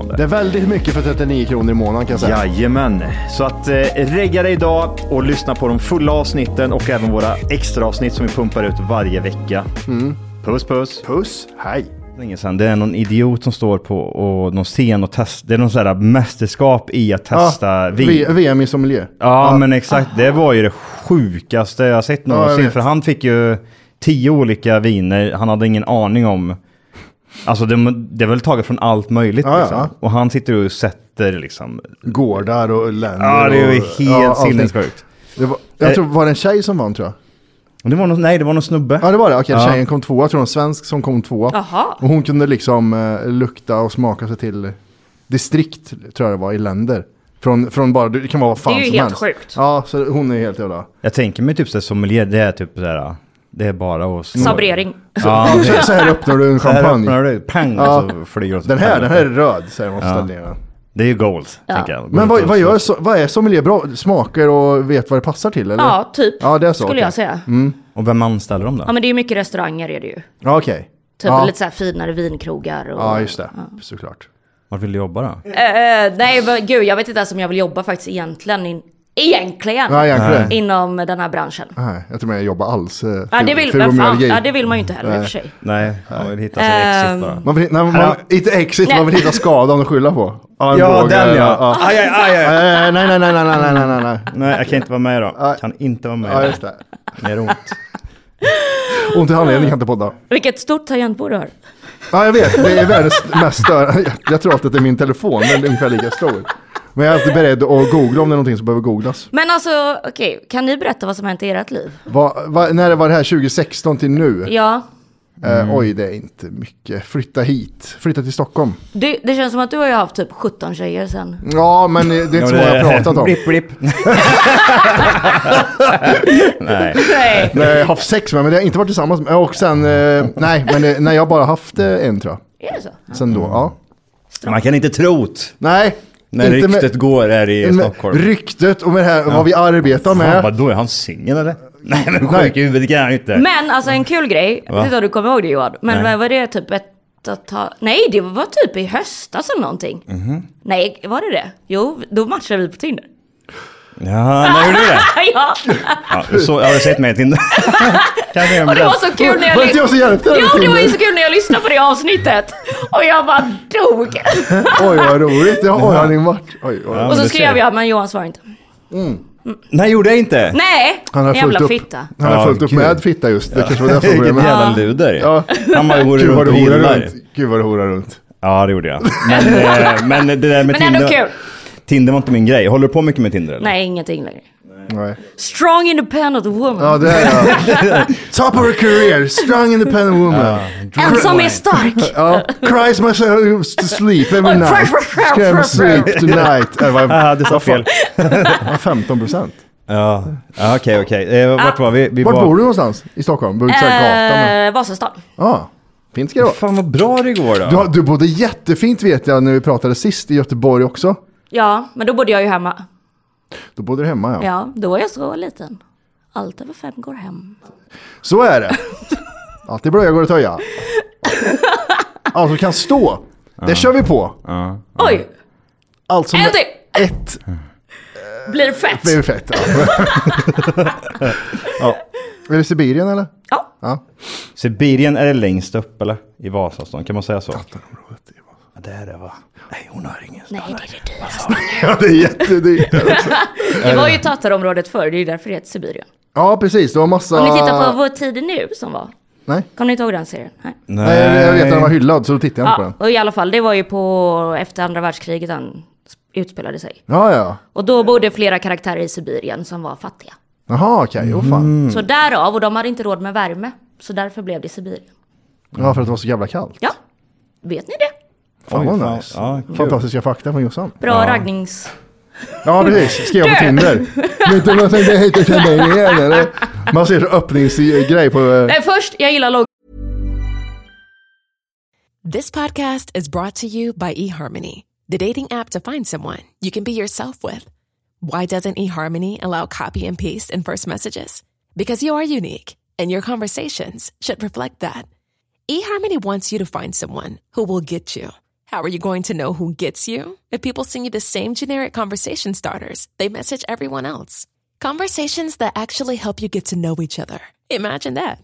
[SPEAKER 9] det.
[SPEAKER 1] Det är väldigt mycket för 39 kronor i månaden kan jag säga.
[SPEAKER 9] Jajamän, så att eh, regga dig idag och lyssna på de fulla avsnitten och även våra extra avsnitt som vi pumpar ut varje vecka. Puss puss!
[SPEAKER 1] Puss, hej!
[SPEAKER 2] Mm. Länge sedan. Det är någon idiot som står på och någon scen och testar. Det är någon sån här mästerskap i att testa vin.
[SPEAKER 1] Ah, V- VM i sommelier.
[SPEAKER 2] Ja, men exakt. Det var ju det sjukaste jag sett
[SPEAKER 1] Ja, jag
[SPEAKER 2] någonsin.
[SPEAKER 1] vet.
[SPEAKER 2] för han fick ju tio olika viner. Han hade ingen aning om. Alltså det, det är väl taget från allt möjligt.
[SPEAKER 1] Ja, ja.
[SPEAKER 2] liksom. Och han sitter och sätter liksom.
[SPEAKER 1] Gårdar och länder.
[SPEAKER 2] Ja, det är ju
[SPEAKER 1] och-
[SPEAKER 2] helt
[SPEAKER 1] allting.
[SPEAKER 2] sinnessjukt. Eh.
[SPEAKER 1] Det var, jag tror, var det en tjej som vann tror jag?
[SPEAKER 2] Det var någon, nej, det var någon snubbe.
[SPEAKER 1] Ja det var det, okej
[SPEAKER 2] Ja.
[SPEAKER 1] tjejen kom tvåa, jag tror det var en svensk som kom tvåa.
[SPEAKER 8] Jaha.
[SPEAKER 1] Och hon kunde liksom eh, lukta och smaka sig till distrikt, tror jag det var, i länder. Från, från bara, det kan vara vad fan
[SPEAKER 8] Det är ju
[SPEAKER 1] som
[SPEAKER 8] helt
[SPEAKER 1] helst.
[SPEAKER 8] sjukt.
[SPEAKER 1] Ja, så hon är helt jävla...
[SPEAKER 2] Jag tänker mig typ så här, sommelier, det är typ så här. Det är bara att... snå.
[SPEAKER 8] Sabrering.
[SPEAKER 2] Ja,
[SPEAKER 1] Så-
[SPEAKER 2] det-
[SPEAKER 1] så här öppnar du en
[SPEAKER 2] Så här
[SPEAKER 1] champagne.
[SPEAKER 2] öppnar du, pang,
[SPEAKER 1] Ja.
[SPEAKER 2] och så flyger åt
[SPEAKER 1] Den här, den
[SPEAKER 2] helvete.
[SPEAKER 1] här är röd, säger man på ställningarna.
[SPEAKER 2] Det är ju gold,
[SPEAKER 8] Ja.
[SPEAKER 2] tänker jag.
[SPEAKER 1] Men vad, vad, gör, so- vad är sommelier bra? Smaker och vet vad det passar till eller?
[SPEAKER 8] Ja, typ.
[SPEAKER 1] Ja, det är så.
[SPEAKER 8] Skulle
[SPEAKER 1] okej.
[SPEAKER 8] jag säga.
[SPEAKER 1] Mm.
[SPEAKER 2] Och vem anställer dem då?
[SPEAKER 8] Ja, men det är ju mycket restauranger är det ju. Typ
[SPEAKER 1] Ja, okej.
[SPEAKER 2] Ja.
[SPEAKER 8] lite så här finare vinkrogar och...
[SPEAKER 1] Ja, just det. Såklart.
[SPEAKER 2] Var vill du jobba då?
[SPEAKER 8] Eh, eh, nej, vad- gud, jag vet inte ens om jag vill jobba faktiskt egentligen. In, egentligen.
[SPEAKER 1] Ja, egentligen. Nej.
[SPEAKER 8] Inom den här branschen.
[SPEAKER 1] Nej, jag tror inte jag jobbar alls. eh,
[SPEAKER 8] Ja, det
[SPEAKER 1] ful-
[SPEAKER 8] vill,
[SPEAKER 1] ful
[SPEAKER 8] vem
[SPEAKER 1] och
[SPEAKER 8] fan,
[SPEAKER 1] mörk.
[SPEAKER 8] ja, det vill man ju inte heller i och för sig.
[SPEAKER 2] Nej, man vill hitta
[SPEAKER 8] sig ett exit Ehm. bara.
[SPEAKER 1] Man vill, nej, man,
[SPEAKER 2] Här-
[SPEAKER 1] inte exit,
[SPEAKER 8] Nej.
[SPEAKER 1] man vill hitta skadan att skylla på. Armbåge,
[SPEAKER 2] den, ja. Aj, aj, aj, aj.
[SPEAKER 1] Eh, Nej, nej, nej, nej, nej, nej, nej, nej.
[SPEAKER 2] Nej, jag kan inte vara med då. Kan inte vara med.
[SPEAKER 1] Ja, just det.
[SPEAKER 2] Det gör ont.
[SPEAKER 1] Ont i handleden kan inte podda.
[SPEAKER 8] Vilket stort tangentbord du har.
[SPEAKER 1] Ja, jag vet. Det är världens mest störande. Jag, jag tror att det är min telefon, den är ungefär lika stor. Men jag är alltid beredd att googla om det är någonting som behöver googlas.
[SPEAKER 8] Men alltså, okej, kan ni berätta vad som hänt i ert liv?
[SPEAKER 1] Va, va, när var det här? 2016 till nu?
[SPEAKER 8] Ja,
[SPEAKER 1] Eh, oj, det är inte mycket. Flytta hit. Flytta till Stockholm.
[SPEAKER 8] det, det känns som att du har ju haft typ 17 tjejer sen.
[SPEAKER 1] Ja, men det är inte så många jag har pratat om.
[SPEAKER 2] Blipp, blipp. Nej.
[SPEAKER 8] Nej.
[SPEAKER 1] Nej, jag har haft sex med, men det har jag inte varit tillsammans med. Och sen, eh, nej, men eh, nej, jag har bara haft eh, en tror
[SPEAKER 8] Är det så?
[SPEAKER 1] jag. Sen då, ja.
[SPEAKER 2] Man kan inte tro det.
[SPEAKER 1] Nej.
[SPEAKER 2] När
[SPEAKER 1] inte med-
[SPEAKER 2] ryktet går här i
[SPEAKER 1] med
[SPEAKER 2] Stockholm.
[SPEAKER 1] Ryktet och med det här, vad vi arbetar
[SPEAKER 2] Fan,
[SPEAKER 1] med.
[SPEAKER 2] vadå, är han singel eller? Nej, men sjuk i huvudet kan han ju inte.
[SPEAKER 8] Men alltså en kul grej, jag
[SPEAKER 2] Va?
[SPEAKER 8] vet inte om du kommer ihåg det Johan,
[SPEAKER 2] Nej.
[SPEAKER 8] men vad var det typ ett och ett halvt- Nej, det var typ i höstas eller någonting.
[SPEAKER 2] Mhm.
[SPEAKER 8] Nej, var det det? Jo, då matchade vi på Tinder.
[SPEAKER 2] Ja, när gjorde du det?
[SPEAKER 8] ja,
[SPEAKER 2] Ja, så, har du sett mig till... Kanske jag
[SPEAKER 8] och det var
[SPEAKER 2] glömt.
[SPEAKER 8] så kul när jag...
[SPEAKER 1] Var det inte jag som hjälpte dig med
[SPEAKER 8] Jo, det var ju
[SPEAKER 1] Tinder?
[SPEAKER 8] så kul när jag lyssnade på det avsnittet. Och jag bara dog.
[SPEAKER 1] Oj, vad roligt. Ja, oj, har ni varit? Oj, oj.
[SPEAKER 2] Ja,
[SPEAKER 8] och
[SPEAKER 2] men
[SPEAKER 8] så
[SPEAKER 2] du
[SPEAKER 8] skrev
[SPEAKER 2] ser.
[SPEAKER 8] jag, men Johan svarade inte.
[SPEAKER 2] Nej, gjorde jag inte.
[SPEAKER 8] Nej,
[SPEAKER 1] Han har
[SPEAKER 8] jävla
[SPEAKER 1] fullt upp,
[SPEAKER 8] fitta.
[SPEAKER 1] han har
[SPEAKER 2] Ja,
[SPEAKER 1] fullt upp
[SPEAKER 2] gud.
[SPEAKER 1] med fitta just. Det kanske var det som var
[SPEAKER 2] Vilket
[SPEAKER 1] problemet.
[SPEAKER 2] jävla luder.
[SPEAKER 1] Ja.
[SPEAKER 2] Han bara går
[SPEAKER 1] Gud vad
[SPEAKER 2] runt
[SPEAKER 1] du
[SPEAKER 2] och
[SPEAKER 1] horar
[SPEAKER 2] hyllar.
[SPEAKER 1] runt. Gud vad du horar runt.
[SPEAKER 2] Ja, det gjorde jag. Men, eh, men det där med
[SPEAKER 8] Men ändå
[SPEAKER 2] Tinder...
[SPEAKER 8] kul.
[SPEAKER 2] Tinder var inte min grej. Håller du på mycket med Tinder eller?
[SPEAKER 8] Nej, ingenting längre.
[SPEAKER 1] Nej.
[SPEAKER 8] Strong independent woman.
[SPEAKER 1] Ja, det är jag. Top of her career, strong independent woman.
[SPEAKER 8] Ensam är stark.
[SPEAKER 1] Ja, cries myself to sleep every night. Scam sleep tonight. Äh, vad-
[SPEAKER 2] Ah, du sa
[SPEAKER 1] vad fan-
[SPEAKER 2] fel.
[SPEAKER 1] Ja, 15 procent.
[SPEAKER 2] Ja, Ja, okej, okej. Eh, vart
[SPEAKER 8] Ah.
[SPEAKER 2] var vi? vi
[SPEAKER 1] Vart
[SPEAKER 2] var...
[SPEAKER 1] bor du någonstans i Stockholm? Behöver inte säga gatan. men-
[SPEAKER 8] Eh, Vasastan.
[SPEAKER 1] Ja, fint ska det vara.
[SPEAKER 2] Fan vad bra det går då.
[SPEAKER 1] Du, har- du bodde jättefint vet jag när vi pratade sist i Göteborg också.
[SPEAKER 8] Ja, men då bodde jag ju hemma.
[SPEAKER 1] Då bodde du hemma ja.
[SPEAKER 8] Ja, då var jag så liten. Allt över fem går hem.
[SPEAKER 1] Så är det. Alltid blöja går att töja. Alltså kan stå. Det kör vi på. Mm.
[SPEAKER 8] Oj!
[SPEAKER 1] Alltså
[SPEAKER 8] en
[SPEAKER 1] med
[SPEAKER 8] till!
[SPEAKER 1] ett
[SPEAKER 8] Blir det fett?
[SPEAKER 1] blir det fett. Ja.
[SPEAKER 2] Ja.
[SPEAKER 1] Är det Sibirien eller?
[SPEAKER 8] Ja.
[SPEAKER 2] Sibirien är det längst upp eller? I Vasastan, kan man säga så? Ja, det är det va? Nej, hon har ingen.
[SPEAKER 8] Nej, det är det
[SPEAKER 1] Ja, det är jättedyrt. där också.
[SPEAKER 8] dyraste. Det var ju Tatarområdet förr, det är ju därför det heter Sibirien.
[SPEAKER 1] Ja, precis. Det var massa...
[SPEAKER 8] Om ni tittar på Vår tid är nu som var.
[SPEAKER 1] Nej.
[SPEAKER 8] Kommer ni inte ihåg den serien? Nej.
[SPEAKER 1] Nej, jag vet att den var hyllad så då tittade jag inte på
[SPEAKER 8] Ja,
[SPEAKER 1] den.
[SPEAKER 8] och i alla fall, det var ju på efter andra världskriget han utspelade sig.
[SPEAKER 1] Ja, ja.
[SPEAKER 8] Och då bodde flera karaktärer i Sibirien som var fattiga.
[SPEAKER 1] Jaha, okej. Åh fan.
[SPEAKER 8] Så därav, och de hade inte råd med värme. Så därför blev det Sibirien.
[SPEAKER 1] Ja, för att det var så jävla kallt.
[SPEAKER 8] Ja, vet ni det?
[SPEAKER 1] Fan
[SPEAKER 2] Oj,
[SPEAKER 1] vad
[SPEAKER 2] fan.
[SPEAKER 1] nice.
[SPEAKER 2] Ja, kul.
[SPEAKER 1] Fantastiska fakta från Jossan.
[SPEAKER 8] Bra
[SPEAKER 1] ja.
[SPEAKER 8] raggnings...
[SPEAKER 1] Ja, precis. Skrev på
[SPEAKER 8] Du!
[SPEAKER 1] Tinder. Vet du vad jag heter Sibirien eller? Man ser så öppningsgrej på... eh,
[SPEAKER 8] Nej, först, jag gillar logg.
[SPEAKER 6] This podcast is brought to you by eHarmony, the dating app to find someone you can be yourself with. Why doesn't eHarmony allow copy and paste in first messages? Because you are unique and your conversations should reflect that. eHarmony wants you to find someone who will get you. How are you going to know who gets you? If people send you the same generic conversation starters, they message everyone else. Conversations that actually help you get to know each other. Imagine that.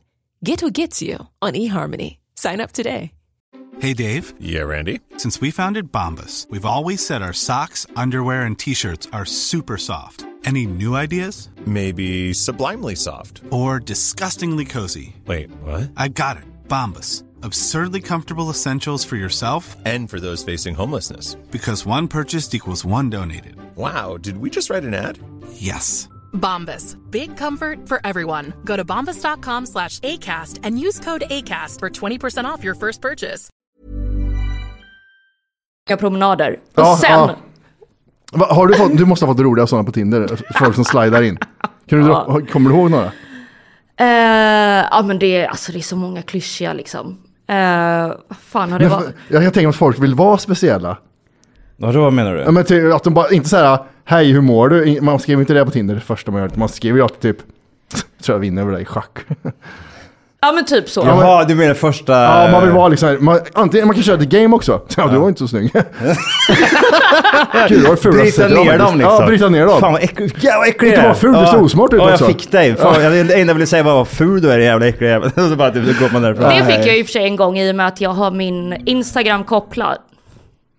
[SPEAKER 6] Get who gets you on eHarmony. Sign up today.
[SPEAKER 10] Hey, Dave. Yeah, Randy. Since we founded Bombus, we've always said our socks, underwear, and t shirts are super soft. Any new ideas? Maybe sublimely soft. Or disgustingly cozy. Wait, what? I got it. Bombus. Absurdly comfortable essentials for yourself and for those facing homelessness. Because one purchased equals one donated. Wow, did we just write an ad? Yes.
[SPEAKER 11] Bombas. Big comfort for everyone. Go to bombas.com slash ACAST and use code ACAST for 20% off your first purchase.
[SPEAKER 8] Jag promenader. Och
[SPEAKER 1] Ja,
[SPEAKER 8] sen...
[SPEAKER 1] ja. Va, Har du fått... Du måste ha fått roliga sådana på Tinder. Folk som slidar in. Kan du dra... Kommer du ihåg några?
[SPEAKER 8] Eh, ja men det, är- alltså, det är så många klyschiga liksom. Eh, vad fan har det
[SPEAKER 1] Men,
[SPEAKER 8] varit?
[SPEAKER 1] Jag kan tänka mig att folk vill vara speciella.
[SPEAKER 2] Vadå, vad menar du?
[SPEAKER 1] Ja, men till, att de bara, inte så här, hej hur mår du? In- Man skriver inte det på Tinder det första man gör. utan Man skriver ju alltid typ, tror jag vinner över dig i schack.
[SPEAKER 8] Ja men typ så.
[SPEAKER 2] Jaha, du menar första...
[SPEAKER 1] Ja, man vill vara liksom, här, man, antingen man kan köra ett game också. Ja, du var inte så snygg. Gud, du har det fulaste
[SPEAKER 2] Bryta
[SPEAKER 1] sättet jag har
[SPEAKER 2] ner dem
[SPEAKER 1] faktiskt.
[SPEAKER 2] liksom.
[SPEAKER 1] Ja, bryta ner dem.
[SPEAKER 2] Fan vad äckligt. Ja, vad äcklig
[SPEAKER 1] Inte
[SPEAKER 2] du
[SPEAKER 1] vara
[SPEAKER 2] är.
[SPEAKER 1] ful, du ser osmart ut
[SPEAKER 2] ja,
[SPEAKER 1] också.
[SPEAKER 2] jag fick dig. Fan,
[SPEAKER 1] Ja.
[SPEAKER 2] jag, det enda jag ville säga var vad ful du är, jävla äcklig jävel. Så bara typ, så går man därifrån.
[SPEAKER 8] Det fick jag i och för sig en gång i och med att jag har min Instagram kopplad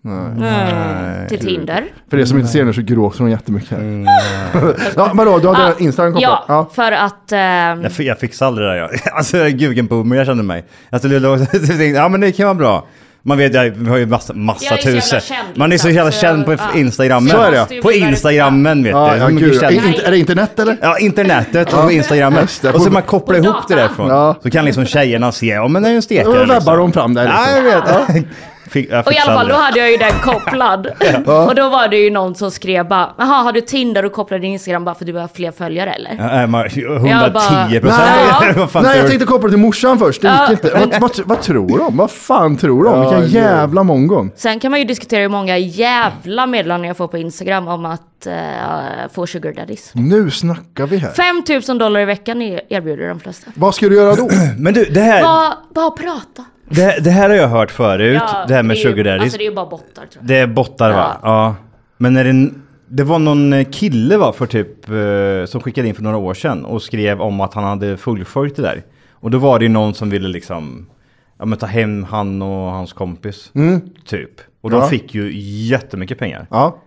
[SPEAKER 8] Mm,
[SPEAKER 1] Nej.
[SPEAKER 8] till Tinder.
[SPEAKER 1] För det som
[SPEAKER 2] Mm.
[SPEAKER 1] inte ser nu så gråter hon jättemycket här. ja, vadå, du hade Instagram kopplad?
[SPEAKER 8] Ah, Ja, för att... ehm,
[SPEAKER 2] Jag, fi- jag fixade aldrig det där jag. Alltså jag är gud, vilken boomer jag kände mig. Alltså, det låg- jag tänkte, ja men det kan vara bra. Man vet, jag vi har ju massa, massa
[SPEAKER 8] Jag är så jävla
[SPEAKER 2] tusen.
[SPEAKER 8] känd,
[SPEAKER 2] Man är så jävla
[SPEAKER 8] liksom, så
[SPEAKER 2] känd på
[SPEAKER 8] jag- ja.
[SPEAKER 2] Instagram.
[SPEAKER 1] Så är det.
[SPEAKER 2] På Instagrammen vet
[SPEAKER 1] Ja,
[SPEAKER 2] du.
[SPEAKER 1] Ah, ja,
[SPEAKER 2] Hur mycket
[SPEAKER 1] gud, ja.
[SPEAKER 2] känd-
[SPEAKER 1] In- inte- Är det internet eller?
[SPEAKER 2] Ja, internetet och
[SPEAKER 1] Ja.
[SPEAKER 2] Instagrammen.
[SPEAKER 1] Just det,
[SPEAKER 2] Och så
[SPEAKER 1] på-
[SPEAKER 2] man kopplar
[SPEAKER 1] på
[SPEAKER 2] ihop det
[SPEAKER 1] datan.
[SPEAKER 2] därifrån. Så kan liksom tjejerna se, ja men det är ju en stekare.
[SPEAKER 1] Då
[SPEAKER 2] liksom.
[SPEAKER 1] vabbar de fram där liksom.
[SPEAKER 2] Ja, jag vet. Fick, jag
[SPEAKER 8] Och i alla fall, då
[SPEAKER 2] fixade
[SPEAKER 8] hade jag ju den kopplad.
[SPEAKER 2] Ja.
[SPEAKER 8] Och då var det ju någon som skrev bara, jaha har du Tinder och kopplar din Instagram bara för du har fler följare eller?
[SPEAKER 2] det. Ja, äh, man- 110
[SPEAKER 8] Jag bara-
[SPEAKER 2] procent. Vad
[SPEAKER 1] Nej,
[SPEAKER 2] fan tror
[SPEAKER 1] jag
[SPEAKER 2] du?
[SPEAKER 1] tänkte koppla till morsan först. Det
[SPEAKER 8] Ja.
[SPEAKER 1] gick inte. Vad, vad, vad tror de? Vad fan tror de?
[SPEAKER 2] Ja,
[SPEAKER 1] Vilken
[SPEAKER 2] gud.
[SPEAKER 1] jävla mongon.
[SPEAKER 8] Sen kan man ju diskutera hur många jävla meddelanden jag får på Instagram om att eh, få sugar daddies.
[SPEAKER 1] Nu snackar vi här.
[SPEAKER 8] 5000 dollar i veckan e- erbjuder de flesta.
[SPEAKER 1] Vad ska du göra då?
[SPEAKER 2] Men du, det här,
[SPEAKER 8] Bara, bara prata.
[SPEAKER 2] det, det här har jag hört förut.
[SPEAKER 8] Ja,
[SPEAKER 2] det här med
[SPEAKER 8] är
[SPEAKER 2] sugar
[SPEAKER 8] ju-
[SPEAKER 2] daddies.
[SPEAKER 8] Alltså det är ju bara bottar tror jag.
[SPEAKER 2] Det är bottar va? Ja. Men är det, n- det var någon eh, kille va för typ eh, som skickade in för några år sedan och skrev om att han hade fullföljt det där. Och då var det ju någon som ville liksom ja, men ta hem han och hans kompis.
[SPEAKER 1] Mm.
[SPEAKER 2] Typ. Och de
[SPEAKER 1] Ja.
[SPEAKER 2] fick ju jättemycket pengar.
[SPEAKER 1] Ja.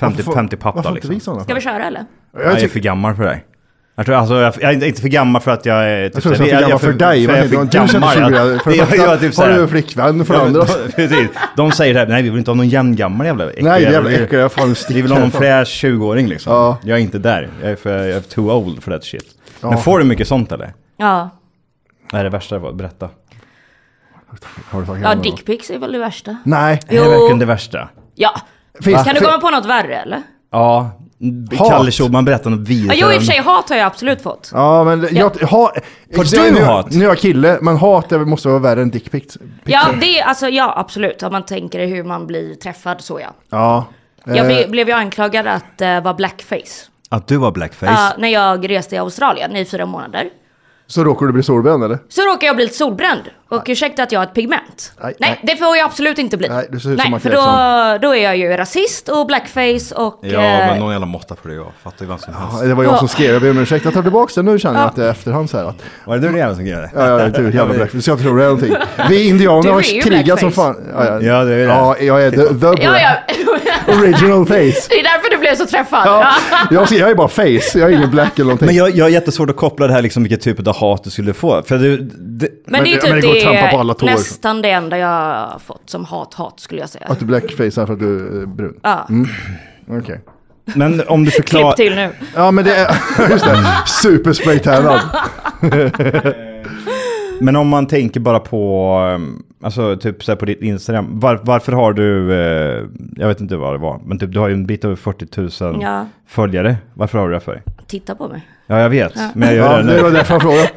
[SPEAKER 2] 50,
[SPEAKER 1] Varför får-
[SPEAKER 2] 50 papp
[SPEAKER 1] varför
[SPEAKER 2] då
[SPEAKER 1] får inte
[SPEAKER 2] liksom.
[SPEAKER 1] vi sådana?
[SPEAKER 8] Ska vi köra eller?
[SPEAKER 2] Jag, jag är för gammal för dig. Jag, tror, alltså, jag, jag är inte för gammal för att jag är... Typ,
[SPEAKER 1] Jag tror att jag är för gammal för dig.
[SPEAKER 2] Jag
[SPEAKER 1] Vad
[SPEAKER 2] är
[SPEAKER 1] heter
[SPEAKER 2] för
[SPEAKER 1] det? Du känner
[SPEAKER 2] gammal.
[SPEAKER 1] sig
[SPEAKER 2] Jag-
[SPEAKER 1] sugrad. För det
[SPEAKER 2] jag-
[SPEAKER 1] första,
[SPEAKER 2] jag är typ så
[SPEAKER 1] har
[SPEAKER 2] här-
[SPEAKER 1] du flickvän? För det
[SPEAKER 2] Ja, men-
[SPEAKER 1] andra-
[SPEAKER 2] precis. De säger det här, nej vi vill inte ha någon jämngammal jävla äcklig
[SPEAKER 1] Nej, jävla
[SPEAKER 2] jävel.
[SPEAKER 1] äckel. Jag fan sticker
[SPEAKER 2] Vi vill ha någon
[SPEAKER 1] härifrån.
[SPEAKER 2] fräsch 20-åring liksom. Jag är inte där. Jag är, för, jag är too old for that shit.
[SPEAKER 1] Ja.
[SPEAKER 2] Men får du mycket sånt eller?
[SPEAKER 8] Ja.
[SPEAKER 2] Vad är det värsta? Vad- Berätta.
[SPEAKER 1] Har du tagit
[SPEAKER 8] Ja, dickpics är väl det värsta.
[SPEAKER 1] Nej.
[SPEAKER 2] Det är
[SPEAKER 8] Jo.
[SPEAKER 2] verkligen det värsta.
[SPEAKER 8] Ja.
[SPEAKER 2] Finns-
[SPEAKER 8] kan du
[SPEAKER 2] fin-
[SPEAKER 8] komma på något värre eller?
[SPEAKER 2] Ja. Kalle Schulman berättar något
[SPEAKER 8] Ja,
[SPEAKER 2] vidare.
[SPEAKER 8] jo i och för sig, hat har jag absolut fått.
[SPEAKER 1] Ja, men jag, ha,
[SPEAKER 2] Får
[SPEAKER 1] jag-
[SPEAKER 2] du
[SPEAKER 1] nu,
[SPEAKER 2] hat?
[SPEAKER 1] Nu är jag kille, men hat det måste vara värre än dickpics.
[SPEAKER 8] Ja, det, alltså, ja absolut. Om man tänker hur man blir träffad så ja.
[SPEAKER 1] Ja.
[SPEAKER 8] Jag
[SPEAKER 1] Eh,
[SPEAKER 8] ble, blev ju anklagad att eh, vara blackface. eh,
[SPEAKER 2] Att du var blackface.
[SPEAKER 8] Ja, när jag reste i Australien i fyra månader.
[SPEAKER 1] Så råkar du bli solbränd eller?
[SPEAKER 8] Så råkar jag bli lite solbränd och ursäkta att jag har ett pigment.
[SPEAKER 1] Nej,
[SPEAKER 8] Nej, det får jag absolut inte bli.
[SPEAKER 1] Nej, du ser ut som Michael
[SPEAKER 8] för då, då är jag ju rasist och blackface och...
[SPEAKER 2] Ja,
[SPEAKER 8] eh,
[SPEAKER 2] men någon jävla måtta på det jag. Fattar ju vem som helst.
[SPEAKER 1] Ja, det var jag som skrev, jag ber om ursäkt. Jag tar tillbaka det nu känner jag
[SPEAKER 8] Ja.
[SPEAKER 1] att det är efterhand så här. Att,
[SPEAKER 2] var det du jävla som skrev det?
[SPEAKER 1] Ja, ja, du jävla blackface. Du ska inte tro det är någonting. Vi indianer
[SPEAKER 8] Du
[SPEAKER 1] har
[SPEAKER 8] är ju
[SPEAKER 1] krigat som fan. Ja,
[SPEAKER 8] blackface.
[SPEAKER 1] ja.
[SPEAKER 2] Ja, det är det.
[SPEAKER 1] Ja, jag är the, the
[SPEAKER 8] ja,
[SPEAKER 1] black.
[SPEAKER 8] ja.
[SPEAKER 1] Original face.
[SPEAKER 8] det är därför du blev så träffad.
[SPEAKER 1] Ja. Jag, ser- jag är bara face, jag är ingen black eller någonting.
[SPEAKER 2] Men jag, jag har jättesvårt att koppla det här liksom vilket typ av hat du skulle få. För det, det,
[SPEAKER 8] Men det är typ det, nästan det enda jag har fått som hat-hat skulle jag säga.
[SPEAKER 1] Att du blackfacear för att du är brun?
[SPEAKER 8] Ja.
[SPEAKER 1] Mm. Okej.
[SPEAKER 2] Men om du förklarar...
[SPEAKER 8] Klipp till nu.
[SPEAKER 1] Ja men det är, just det, superspraytannad.
[SPEAKER 2] Men om man tänker bara på, ehm, alltså typ så här på ditt Instagram, var, varför har du, eh, jag vet inte vad det var, men typ du har ju en bit över 40 000
[SPEAKER 8] Ja.
[SPEAKER 2] följare. Varför har du det för?
[SPEAKER 8] Titta på mig.
[SPEAKER 2] Ja, jag vet,
[SPEAKER 8] Ja.
[SPEAKER 2] men jag gör
[SPEAKER 1] Ja,
[SPEAKER 2] det nu.
[SPEAKER 1] det var därför jag
[SPEAKER 8] Eh,
[SPEAKER 1] frågade.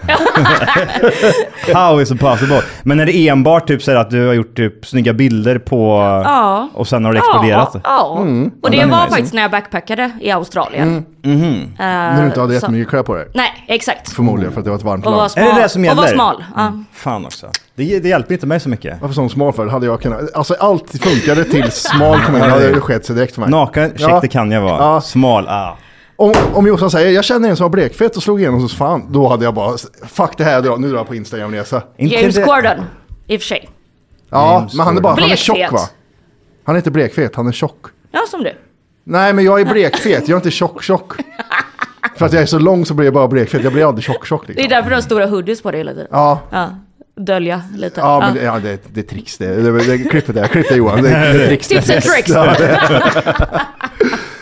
[SPEAKER 2] How is it possible? Men är det enbart typ så här att du har gjort typ snygga bilder på,
[SPEAKER 8] Ja.
[SPEAKER 2] och sen har det
[SPEAKER 8] Ja,
[SPEAKER 2] exploderat?
[SPEAKER 8] Ja,
[SPEAKER 2] Mm.
[SPEAKER 8] och det
[SPEAKER 2] Ja, den är
[SPEAKER 8] var
[SPEAKER 2] nice.
[SPEAKER 8] faktiskt när jag backpackade i Australien.
[SPEAKER 2] Mm. Mhm.
[SPEAKER 8] Eh,
[SPEAKER 1] När du inte hade
[SPEAKER 8] så-
[SPEAKER 1] jättemycket kläder på dig.
[SPEAKER 8] Nej, exakt.
[SPEAKER 2] Mm.
[SPEAKER 1] Förmodligen för att det var ett varmt
[SPEAKER 8] Och var
[SPEAKER 1] land.
[SPEAKER 8] smal.
[SPEAKER 2] Är det det som
[SPEAKER 8] Och var
[SPEAKER 2] gäller? Mm.
[SPEAKER 8] smal. Ja.
[SPEAKER 2] Fan också. Det, det hjälper inte mig så mycket.
[SPEAKER 1] Varför sån smal för? Hade jag kunnat, alltså allt funkade till smal kom in, det hade ju skett sig direkt för mig.
[SPEAKER 2] Naken, check
[SPEAKER 1] Ja.
[SPEAKER 2] det kan jag vara. Smal, ah.
[SPEAKER 1] Om, om Jossan säger jag känner en som har blekfett och slog igenom hos fan, då hade jag bara fuck det här, jag drar- nu drar jag på Instagram-resa.
[SPEAKER 8] James Corden, i och för sig.
[SPEAKER 1] Ja,
[SPEAKER 2] Mm,
[SPEAKER 8] James
[SPEAKER 1] men han är bara, han är
[SPEAKER 8] Corden.
[SPEAKER 1] tjock
[SPEAKER 8] Blekfet.
[SPEAKER 1] va? Han är inte blekfet, han är tjock.
[SPEAKER 8] Ja, som du.
[SPEAKER 1] Nej men jag är blekfet, jag är inte tjock-tjock. För att jag är så lång så blir jag bara blekfet, jag blir aldrig tjock-tjock
[SPEAKER 8] Det
[SPEAKER 1] liksom.
[SPEAKER 8] är därför du har stora hoodies på dig hela tiden.
[SPEAKER 1] Ja.
[SPEAKER 8] Dölja lite.
[SPEAKER 1] Ja, men det, ja, det, det är tricks det. det, det, det klippet där, klipp det Johan. Det, det är tricks det.
[SPEAKER 8] Tips and tricks.
[SPEAKER 1] Ja.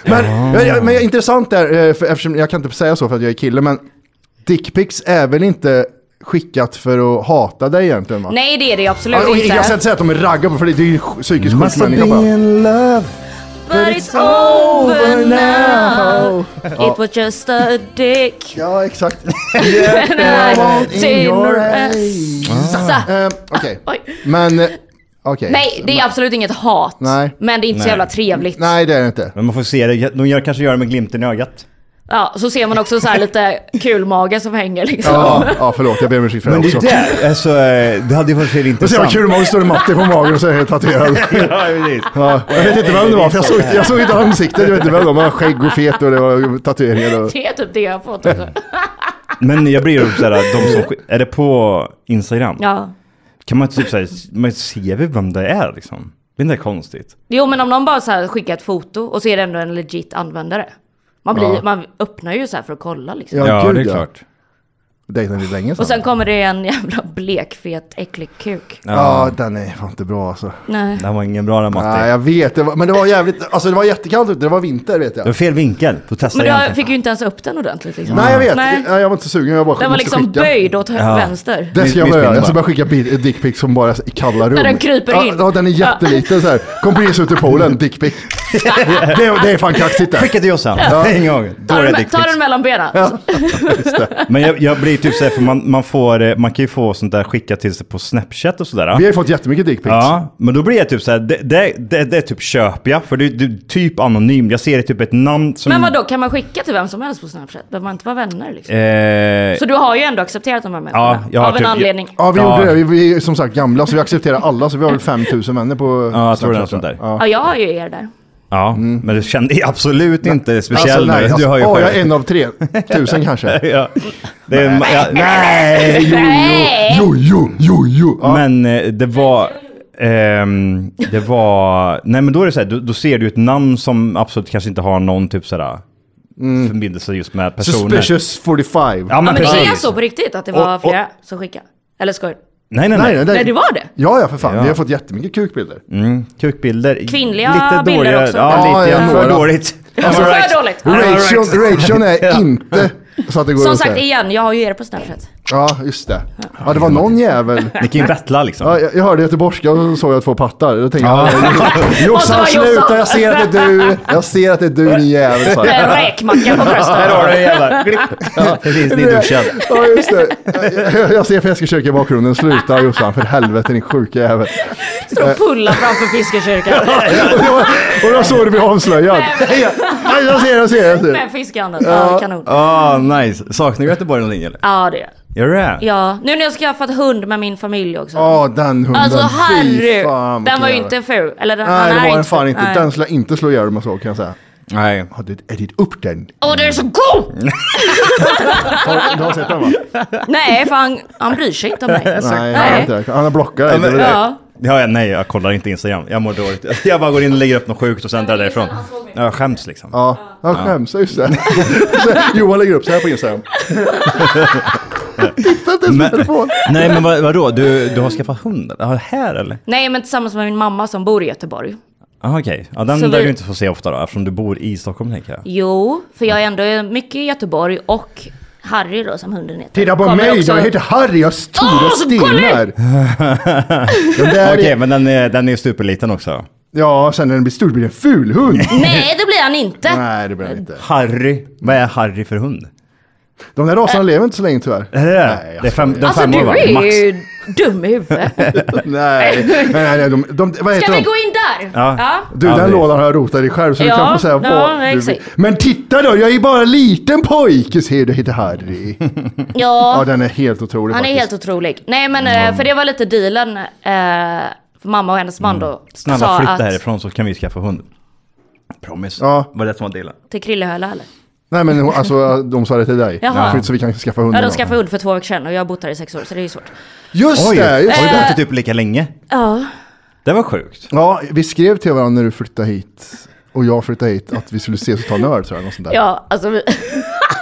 [SPEAKER 1] men, men, men, men intressant där, eh, för, eftersom jag kan inte säga så för att jag är kille, men dickpics är väl inte skickat för att hata dig egentligen va?
[SPEAKER 8] Nej, det är det absolut
[SPEAKER 1] Ja, och
[SPEAKER 8] inte.
[SPEAKER 1] Jag ska inte säga att de är raggar på för det är ju en psykisk sjuk
[SPEAKER 2] Must have
[SPEAKER 1] människa bara.
[SPEAKER 2] been love.
[SPEAKER 8] But it's over now.
[SPEAKER 1] Ja.
[SPEAKER 8] It was just a dick.
[SPEAKER 1] Ja, exakt.
[SPEAKER 8] Ah.
[SPEAKER 1] Ehm, Okej, men eh, okej.
[SPEAKER 8] Nej, det är absolut inget hat.
[SPEAKER 2] Nej.
[SPEAKER 8] Men det är inte så
[SPEAKER 2] Nej.
[SPEAKER 8] jävla trevligt.
[SPEAKER 1] Nej, det är det inte.
[SPEAKER 2] Men man får se det. De gör, kanske gör det med glimten i ögat.
[SPEAKER 8] Ja, så ser man också så här lite kulmage som hänger liksom.
[SPEAKER 1] Ja, ja, förlåt, jag ber om ursäkt för det
[SPEAKER 2] Men det
[SPEAKER 1] också.
[SPEAKER 2] där, alltså, eh, det hade ju varit väldigt
[SPEAKER 1] Det är så jävla
[SPEAKER 2] intressant.
[SPEAKER 1] kul om man står i matte på magen och så är jag helt tatuerad.
[SPEAKER 2] Ja, precis.
[SPEAKER 1] Ja, jag vet inte vem det var, för jag såg, jag såg inte ansiktet. Jag vet inte vem det var, men han var skägg och fet och det var tatueringar. Och...
[SPEAKER 8] Det är typ det jag har fått också.
[SPEAKER 2] Men jag blir ju såhär, de som, sk- är det på Instagram?
[SPEAKER 8] Ja.
[SPEAKER 2] Kan man inte typ såhär, man ser vi vem det är liksom? Det är inte konstigt.
[SPEAKER 8] Jo men om någon bara så här skickar ett foto och så är det ändå en legit användare. Man, blir,
[SPEAKER 2] Ja.
[SPEAKER 8] man öppnar ju så här för att kolla liksom.
[SPEAKER 1] Ja,
[SPEAKER 2] Ja,
[SPEAKER 1] gud,
[SPEAKER 2] det är
[SPEAKER 1] ja.
[SPEAKER 2] klart.
[SPEAKER 1] Dejtade ni länge sedan?
[SPEAKER 8] Och sen kommer det en jävla blekfet äcklig kuk.
[SPEAKER 1] Ja, den är fan inte bra alltså.
[SPEAKER 8] Nej.
[SPEAKER 2] Den var ingen bra den Matti.
[SPEAKER 1] Nej, jag vet. Det var, men det var jävligt, alltså det var jättekallt ute. Det var vinter vet
[SPEAKER 2] Det var
[SPEAKER 1] jag.
[SPEAKER 2] fel vinkel, får testa
[SPEAKER 8] Men
[SPEAKER 2] igen.
[SPEAKER 8] du fick ju inte ens upp den ordentligt liksom.
[SPEAKER 1] Nej, jag vet. Nej. Jag var inte så sugen. Jag bara
[SPEAKER 8] Den var
[SPEAKER 1] måste
[SPEAKER 8] liksom
[SPEAKER 1] skicka.
[SPEAKER 8] böjd åt hö- vänster.
[SPEAKER 1] Det ska jag
[SPEAKER 2] Miss-
[SPEAKER 1] börja göra. Jag ska
[SPEAKER 2] missbilden
[SPEAKER 1] börja skicka bi- dickpics som bara är i kalla rum.
[SPEAKER 8] När den kryper
[SPEAKER 1] Ja,
[SPEAKER 8] in.
[SPEAKER 1] Ja, den är jätteliten så här. Kom precis ut ur poolen, dickpic. det, är- det är fan kaxigt det.
[SPEAKER 2] Skicka till Jossan,
[SPEAKER 1] Ja.
[SPEAKER 2] en gång.
[SPEAKER 8] Ta
[SPEAKER 2] Dåliga
[SPEAKER 8] den, ta den
[SPEAKER 2] dickpics.
[SPEAKER 8] mellan benen.
[SPEAKER 2] Men jag, jag blir typ såhär, för man, man, får, eh, man kan ju få sånt där skickat till sig på Snapchat och sådär.
[SPEAKER 1] Vi har ju fått jättemycket dickpics.
[SPEAKER 2] Ja,
[SPEAKER 8] Liksom.
[SPEAKER 2] men då blir jag typ såhär, det, det, det, det typ köper jag. För det, det är typ anonymt, jag ser det typ ett namn som...
[SPEAKER 8] Men vadå, kan man skicka till vem som helst på Snapchat? Behöver man inte vara vänner liksom?
[SPEAKER 2] Eh,
[SPEAKER 8] Så du har ju ändå accepterat de här
[SPEAKER 2] Ja,
[SPEAKER 8] människorna?
[SPEAKER 2] jag har
[SPEAKER 8] av en
[SPEAKER 2] typ-
[SPEAKER 8] anledning?
[SPEAKER 1] Ja, vi
[SPEAKER 2] Ja.
[SPEAKER 1] gjorde det. Vi, vi är som sagt gamla, så vi accepterar alla. Så vi har väl 5000 vänner på
[SPEAKER 2] Ja, jag tror det är
[SPEAKER 1] Snapchat,
[SPEAKER 2] sånt där.
[SPEAKER 1] Ja.
[SPEAKER 8] Ja, jag har ju er där.
[SPEAKER 2] Ja, men du kände absolut inte
[SPEAKER 1] Alltså,
[SPEAKER 2] speciell
[SPEAKER 1] Mm. nej,
[SPEAKER 2] nu.
[SPEAKER 1] alltså,
[SPEAKER 2] Du har ju
[SPEAKER 1] åh,
[SPEAKER 2] själv-
[SPEAKER 1] jag är en av tre. Tusen kanske.
[SPEAKER 2] ja. Det är, nej. Ja, nej!
[SPEAKER 1] Jo, jo, jo, jo, jo. Ja.
[SPEAKER 2] Men eh, det var... ehm, det var... Nej men då är det så här, då, då ser du ett namn som absolut kanske inte har någon typ sådär förbindelse just med personer.
[SPEAKER 1] Mm. Suspicious 45.
[SPEAKER 2] Ja,
[SPEAKER 8] Ja,
[SPEAKER 2] men
[SPEAKER 8] men det är
[SPEAKER 2] precis.
[SPEAKER 8] så på riktigt att det
[SPEAKER 1] Och-
[SPEAKER 8] var
[SPEAKER 1] och-
[SPEAKER 8] flera som skickade? Eller skojar du?
[SPEAKER 2] Nej, nej, nej.
[SPEAKER 8] Nej, det var det?
[SPEAKER 1] Ja, ja, för fan.
[SPEAKER 2] Ja.
[SPEAKER 1] Vi har fått jättemycket kukbilder.
[SPEAKER 2] Mm. Kukbilder.
[SPEAKER 8] Kvinnliga
[SPEAKER 2] lite
[SPEAKER 8] bilder
[SPEAKER 2] dåliga,
[SPEAKER 8] också.
[SPEAKER 2] Ja, lite
[SPEAKER 1] Ja,
[SPEAKER 2] för
[SPEAKER 1] några.
[SPEAKER 2] dåligt.
[SPEAKER 8] Alltså, för dåligt.
[SPEAKER 1] Ration, ration
[SPEAKER 2] Ja.
[SPEAKER 1] är inte så att det går
[SPEAKER 8] Som
[SPEAKER 1] att
[SPEAKER 8] sagt
[SPEAKER 1] säga.
[SPEAKER 8] igen, jag har ju er på Snapchat.
[SPEAKER 1] Ja, just det. Ja, det var någon jävel.
[SPEAKER 2] Ni kan ju bettla liksom.
[SPEAKER 1] Ja, jag, jag hörde göteborgska och så såg jag två pattar. Då tänkte
[SPEAKER 2] Ja.
[SPEAKER 1] jag,
[SPEAKER 8] Måste
[SPEAKER 1] Jossan
[SPEAKER 8] vara Jossan.
[SPEAKER 1] sluta, jag ser att det är du. Jag ser att det är du din jävel. sa jag.
[SPEAKER 8] Med räkmacka på bröstet.
[SPEAKER 2] Här har du en jävla... Ja, precis, nyduschad.
[SPEAKER 1] Ja, just det. Jag- Jag, jag ser Feskekyrka i bakgrunden. Sluta Jossan, för helvete din sjuka jävel.
[SPEAKER 8] Står och pullar framför fiskekyrkan.
[SPEAKER 1] Och det var- Och då såg du bli avslöjad. Nej, jag ser, jag ser, jag ser.
[SPEAKER 8] Med fiskhandeln. Ja, kanon.
[SPEAKER 2] Ah, nice. Saknar du Göteborg någonting eller?
[SPEAKER 8] Ja, det
[SPEAKER 2] Gör du det?
[SPEAKER 8] Ja, nu när jag skaffat hund med min familj också.
[SPEAKER 1] Ja, den hunden.
[SPEAKER 8] Alltså
[SPEAKER 1] Fy
[SPEAKER 8] herru,
[SPEAKER 1] fan,
[SPEAKER 8] den var ju
[SPEAKER 1] vilken jävla-
[SPEAKER 8] inte ful. Eller den, han
[SPEAKER 1] Nej,
[SPEAKER 8] är
[SPEAKER 1] det var den
[SPEAKER 8] inte
[SPEAKER 1] fan
[SPEAKER 8] ful.
[SPEAKER 1] inte.
[SPEAKER 8] Nej.
[SPEAKER 1] Den skulle jag inte slå ihjäl med så kan jag säga.
[SPEAKER 2] Nej.
[SPEAKER 1] Har du ätit upp den?
[SPEAKER 8] Åh, den är så god!
[SPEAKER 1] Har, du har sett den va?
[SPEAKER 8] Nej, för han, han bryr sig inte om mig.
[SPEAKER 1] Nej, han har inte det. Han har blockat dig.
[SPEAKER 2] Ja, men-
[SPEAKER 1] det är det.
[SPEAKER 8] Ja.
[SPEAKER 2] Ja, ja, nej, jag kollar inte Instagram. Jag mår dåligt. Jag bara går in och lägger upp något sjukt och sen drar jag därifrån. Ja, Jag skäms liksom.
[SPEAKER 1] Ja, jag skäms. Just det. Så Johan lägger upp så här på Instagram. Titta inte ens på telefon.
[SPEAKER 2] Nej, men vad, vadå? Du, du har skaffat hund? Ja, här eller?
[SPEAKER 8] Nej, men tillsammans med min mamma som bor i Göteborg.
[SPEAKER 2] Ah, okej. Ja, den
[SPEAKER 8] Så
[SPEAKER 2] lär
[SPEAKER 8] vi-
[SPEAKER 2] du inte få se ofta då, eftersom du bor i Stockholm tänker jag.
[SPEAKER 8] Jo, för jag är ändå mycket i Göteborg och Harry då som hunden heter.
[SPEAKER 1] Titta på
[SPEAKER 8] kommer
[SPEAKER 1] mig,
[SPEAKER 8] också-
[SPEAKER 1] jag heter Harry, jag har stora
[SPEAKER 8] Åh, så
[SPEAKER 1] stenar.
[SPEAKER 2] Okej, men den är, den är superliten också.
[SPEAKER 1] Ja, sen när den blir stor blir det en ful hund.
[SPEAKER 8] Nej, det blir han inte.
[SPEAKER 1] Nej, det blir den inte.
[SPEAKER 2] Harry, vad är Harry för hund?
[SPEAKER 1] De där raserna lever inte så länge tyvärr.
[SPEAKER 2] Är det det? Det är fem, de är
[SPEAKER 8] Alltså
[SPEAKER 2] fem
[SPEAKER 8] du
[SPEAKER 2] år va?
[SPEAKER 8] är
[SPEAKER 2] Max.
[SPEAKER 8] ju dum i huvudet.
[SPEAKER 1] Nej, nej, nej. De, de, vad heter
[SPEAKER 8] Ska vi
[SPEAKER 1] de?
[SPEAKER 8] gå in där?
[SPEAKER 1] Ja. Du,
[SPEAKER 2] Ja,
[SPEAKER 1] den
[SPEAKER 2] det-
[SPEAKER 1] lådan har jag rotat i själv så du
[SPEAKER 8] Ja,
[SPEAKER 1] kan få säga
[SPEAKER 8] ja,
[SPEAKER 1] vad du vill.
[SPEAKER 8] exakt.
[SPEAKER 1] Men titta då, jag är ju bara en liten pojke ser du, heter Harry.
[SPEAKER 8] Ja.
[SPEAKER 1] ja, den är helt otrolig
[SPEAKER 8] Han är
[SPEAKER 1] faktiskt. Mm.
[SPEAKER 8] helt otrolig. Nej men eh, för det var lite dealen. eh, För mamma och hennes man
[SPEAKER 1] Mm.
[SPEAKER 8] då.
[SPEAKER 2] Snälla
[SPEAKER 8] sa
[SPEAKER 2] flytta
[SPEAKER 8] att,
[SPEAKER 2] härifrån så kan vi skaffa hund. Promise.
[SPEAKER 1] Var
[SPEAKER 2] det som var delen?
[SPEAKER 8] Till Krillehöla eller?
[SPEAKER 1] Nej men hon- alltså de sa det till dig.
[SPEAKER 8] Jaha.
[SPEAKER 1] För- Så vi kan skaffa hund.
[SPEAKER 8] Ja de skaffade hund för två veckor sedan och jag har bott här i sex år så det är ju svårt.
[SPEAKER 1] Just
[SPEAKER 2] Oj,
[SPEAKER 1] det, just
[SPEAKER 8] Eh.
[SPEAKER 2] har vi
[SPEAKER 1] det.
[SPEAKER 2] bott typ lika länge?
[SPEAKER 8] Ja.
[SPEAKER 2] Det var sjukt.
[SPEAKER 1] Ja, vi skrev till varandra när du flyttade hit och jag flyttade hit att vi skulle ses och ta en öl tror jag. Något sånt där.
[SPEAKER 8] Ja alltså vi...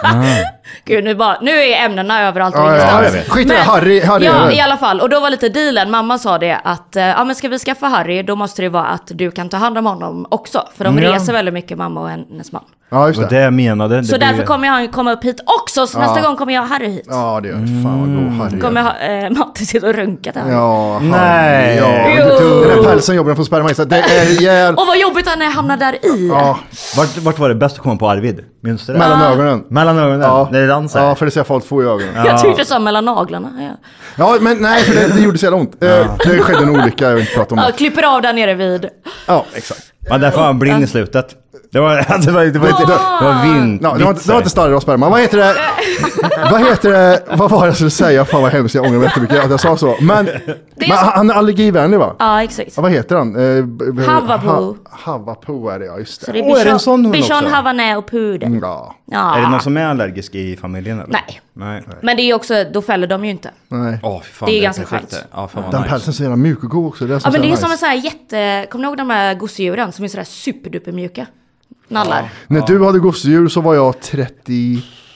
[SPEAKER 8] Gud nu bara, nu är ämnena överallt och
[SPEAKER 1] Ah. Ja, ja,
[SPEAKER 8] ingenstans.
[SPEAKER 1] ja, jag vet. Skit i det,
[SPEAKER 8] Men-
[SPEAKER 1] Harry- Harry är
[SPEAKER 8] Ja
[SPEAKER 1] väl.
[SPEAKER 8] i alla fall. Och då var lite dealen, mamma sa det att eh, ja men ska vi skaffa Harry då måste det vara att du kan ta hand om honom också. För de
[SPEAKER 2] Ja.
[SPEAKER 8] reser väldigt mycket mamma och hennes man.
[SPEAKER 1] Ja, just
[SPEAKER 2] det. var det jag menade. Det
[SPEAKER 8] Så
[SPEAKER 2] blir-
[SPEAKER 8] därför kommer han komma upp hit också, så
[SPEAKER 2] Ja.
[SPEAKER 8] nästa gång kommer jag och Harry hit.
[SPEAKER 1] Ja, det är fan vad god Harry.
[SPEAKER 8] Kommer ha, eh, Matte sitta och runka där.
[SPEAKER 1] Ja, Harry.
[SPEAKER 2] Nej.
[SPEAKER 1] Ja,
[SPEAKER 2] Jo.
[SPEAKER 1] den där pälsen jobbar den får sperma i sig. Det är jävla...
[SPEAKER 8] Och vad jobbigt han är hamnar där i.
[SPEAKER 1] Ja.
[SPEAKER 2] Vart, vart var det bäst att komma på Arvid? Minns du det?
[SPEAKER 1] Mellan ögonen.
[SPEAKER 2] Mellan ögonen?
[SPEAKER 1] Ja.
[SPEAKER 2] När det rann så här?
[SPEAKER 1] Ja, för det ser folk få i ögonen.
[SPEAKER 8] Jag tyckte så mellan naglarna. Ja.
[SPEAKER 1] Ja, men nej, för det, det gjorde så jävla ont. Eh, Det skedde en olycka, jag vill inte prata om
[SPEAKER 8] Ja,
[SPEAKER 1] det.
[SPEAKER 8] klipper av där nere vid.
[SPEAKER 1] Ja, exakt.
[SPEAKER 2] Men därför var han blind i slutet. Det var, det var, det var, inte, det var vind.
[SPEAKER 1] Ja, det, var, inte- det var inte starrare av sperma. Vad heter det? vad heter det? Vad var det jag skulle säga? Fan vad hemskt, jag ångrar mig jättemycket att jag sa så. Men, men han är allergivänlig va?
[SPEAKER 8] Ja, exakt.
[SPEAKER 1] Ja, vad heter han? Eh, b- b-
[SPEAKER 8] Havapoo.
[SPEAKER 1] Ha- Havapoo är det ja, just det.
[SPEAKER 8] Så det är Bichon, Bichon Havanais och pudel.
[SPEAKER 1] Ja.
[SPEAKER 8] Ja.
[SPEAKER 2] Är det någon som är allergisk i familjen eller?
[SPEAKER 8] Nej.
[SPEAKER 2] Nej.
[SPEAKER 8] Men det är ju också, då fäller de ju inte.
[SPEAKER 1] Nej.
[SPEAKER 2] Åh, fy fan,
[SPEAKER 8] Det är ganska
[SPEAKER 2] perfekt
[SPEAKER 8] skönt.
[SPEAKER 2] det. Ja, fan vad
[SPEAKER 1] Den
[SPEAKER 2] nice.
[SPEAKER 1] pälsen är så jävla mjuk och god också. Det är
[SPEAKER 8] Ja men det är ju
[SPEAKER 1] nice.
[SPEAKER 8] som en sån här jätte, kommer ni ihåg de här gosedjuren som är sådär superdupermjuka? Nallar.
[SPEAKER 1] När du hade gosedjur så var jag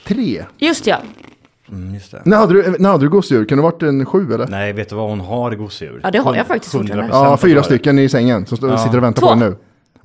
[SPEAKER 1] 33.
[SPEAKER 8] Just ja.
[SPEAKER 2] Mm, just det.
[SPEAKER 1] När hade du, när hade du gosedjur? Kan det ha varit en sju eller?
[SPEAKER 2] Nej, vet du vad hon har gosedjur?
[SPEAKER 8] Ja, det har jag faktiskt
[SPEAKER 2] 100%
[SPEAKER 8] fortfarande.
[SPEAKER 1] Ja,
[SPEAKER 2] att
[SPEAKER 1] fyra
[SPEAKER 2] vara.
[SPEAKER 1] stycken i sängen som står-
[SPEAKER 2] Ja.
[SPEAKER 1] sitter och väntar
[SPEAKER 2] Två.
[SPEAKER 1] på en nu.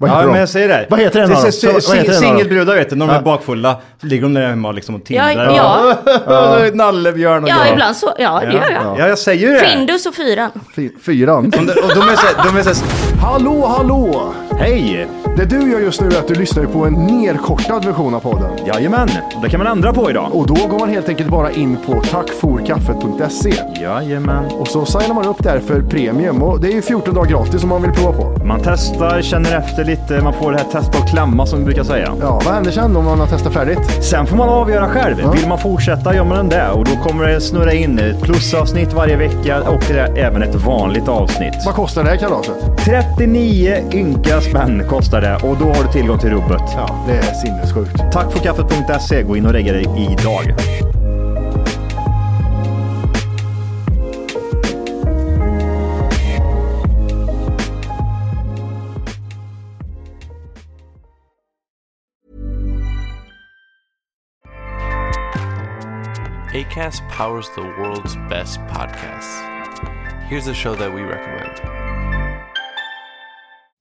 [SPEAKER 1] Vad heter
[SPEAKER 2] Ja,
[SPEAKER 1] de?
[SPEAKER 2] men jag säger det.
[SPEAKER 1] Vad heter den
[SPEAKER 2] det?
[SPEAKER 1] av dem?
[SPEAKER 2] är
[SPEAKER 1] Så- vad heter
[SPEAKER 2] sing-
[SPEAKER 1] den av dem?
[SPEAKER 2] Singelbrudar vet du, när de
[SPEAKER 1] Ja.
[SPEAKER 2] är bakfulla. Så ligger de där hemma liksom och tindrar.
[SPEAKER 8] Ja, ja.
[SPEAKER 2] ja. Nallebjörn och
[SPEAKER 8] Ja,
[SPEAKER 2] grejer.
[SPEAKER 8] ibland så. Ja, det gör jag.
[SPEAKER 2] Ja, jag säger ju det.
[SPEAKER 8] Findus och fyran.
[SPEAKER 1] Fy- Fyran.
[SPEAKER 2] Och de är så, de är så
[SPEAKER 1] Hallå, hallå!
[SPEAKER 2] Hej!
[SPEAKER 1] Det du gör just nu är att du lyssnar på en nedkortad version av podden.
[SPEAKER 2] Jajamän, det kan man ändra på idag.
[SPEAKER 1] Och då går man helt enkelt bara in på tackforkaffet.se.
[SPEAKER 2] Jajamän.
[SPEAKER 1] Och så signar man upp där för premium. Och det är ju 14 dagar gratis om man vill prova på.
[SPEAKER 9] Man testar, känner efter lite, man får det här testa och klämma som vi brukar säga.
[SPEAKER 1] Ja, vad händer sen om man har testat färdigt?
[SPEAKER 9] Sen får man avgöra själv. Vill man fortsätta gör man det och då kommer det snurra in ett plusavsnitt varje vecka och det är även ett vanligt avsnitt.
[SPEAKER 1] Vad kostar det här kalaset?
[SPEAKER 9] 39 ynka spänn kostar det och då har du tillgång till rubbet.
[SPEAKER 1] Ja, det är sinnessjukt.
[SPEAKER 9] Tack för kaffet.se. E. Gå in och lägg dig idag.
[SPEAKER 7] ACAST powers the world's best podcasts. Here's a show that we recommend.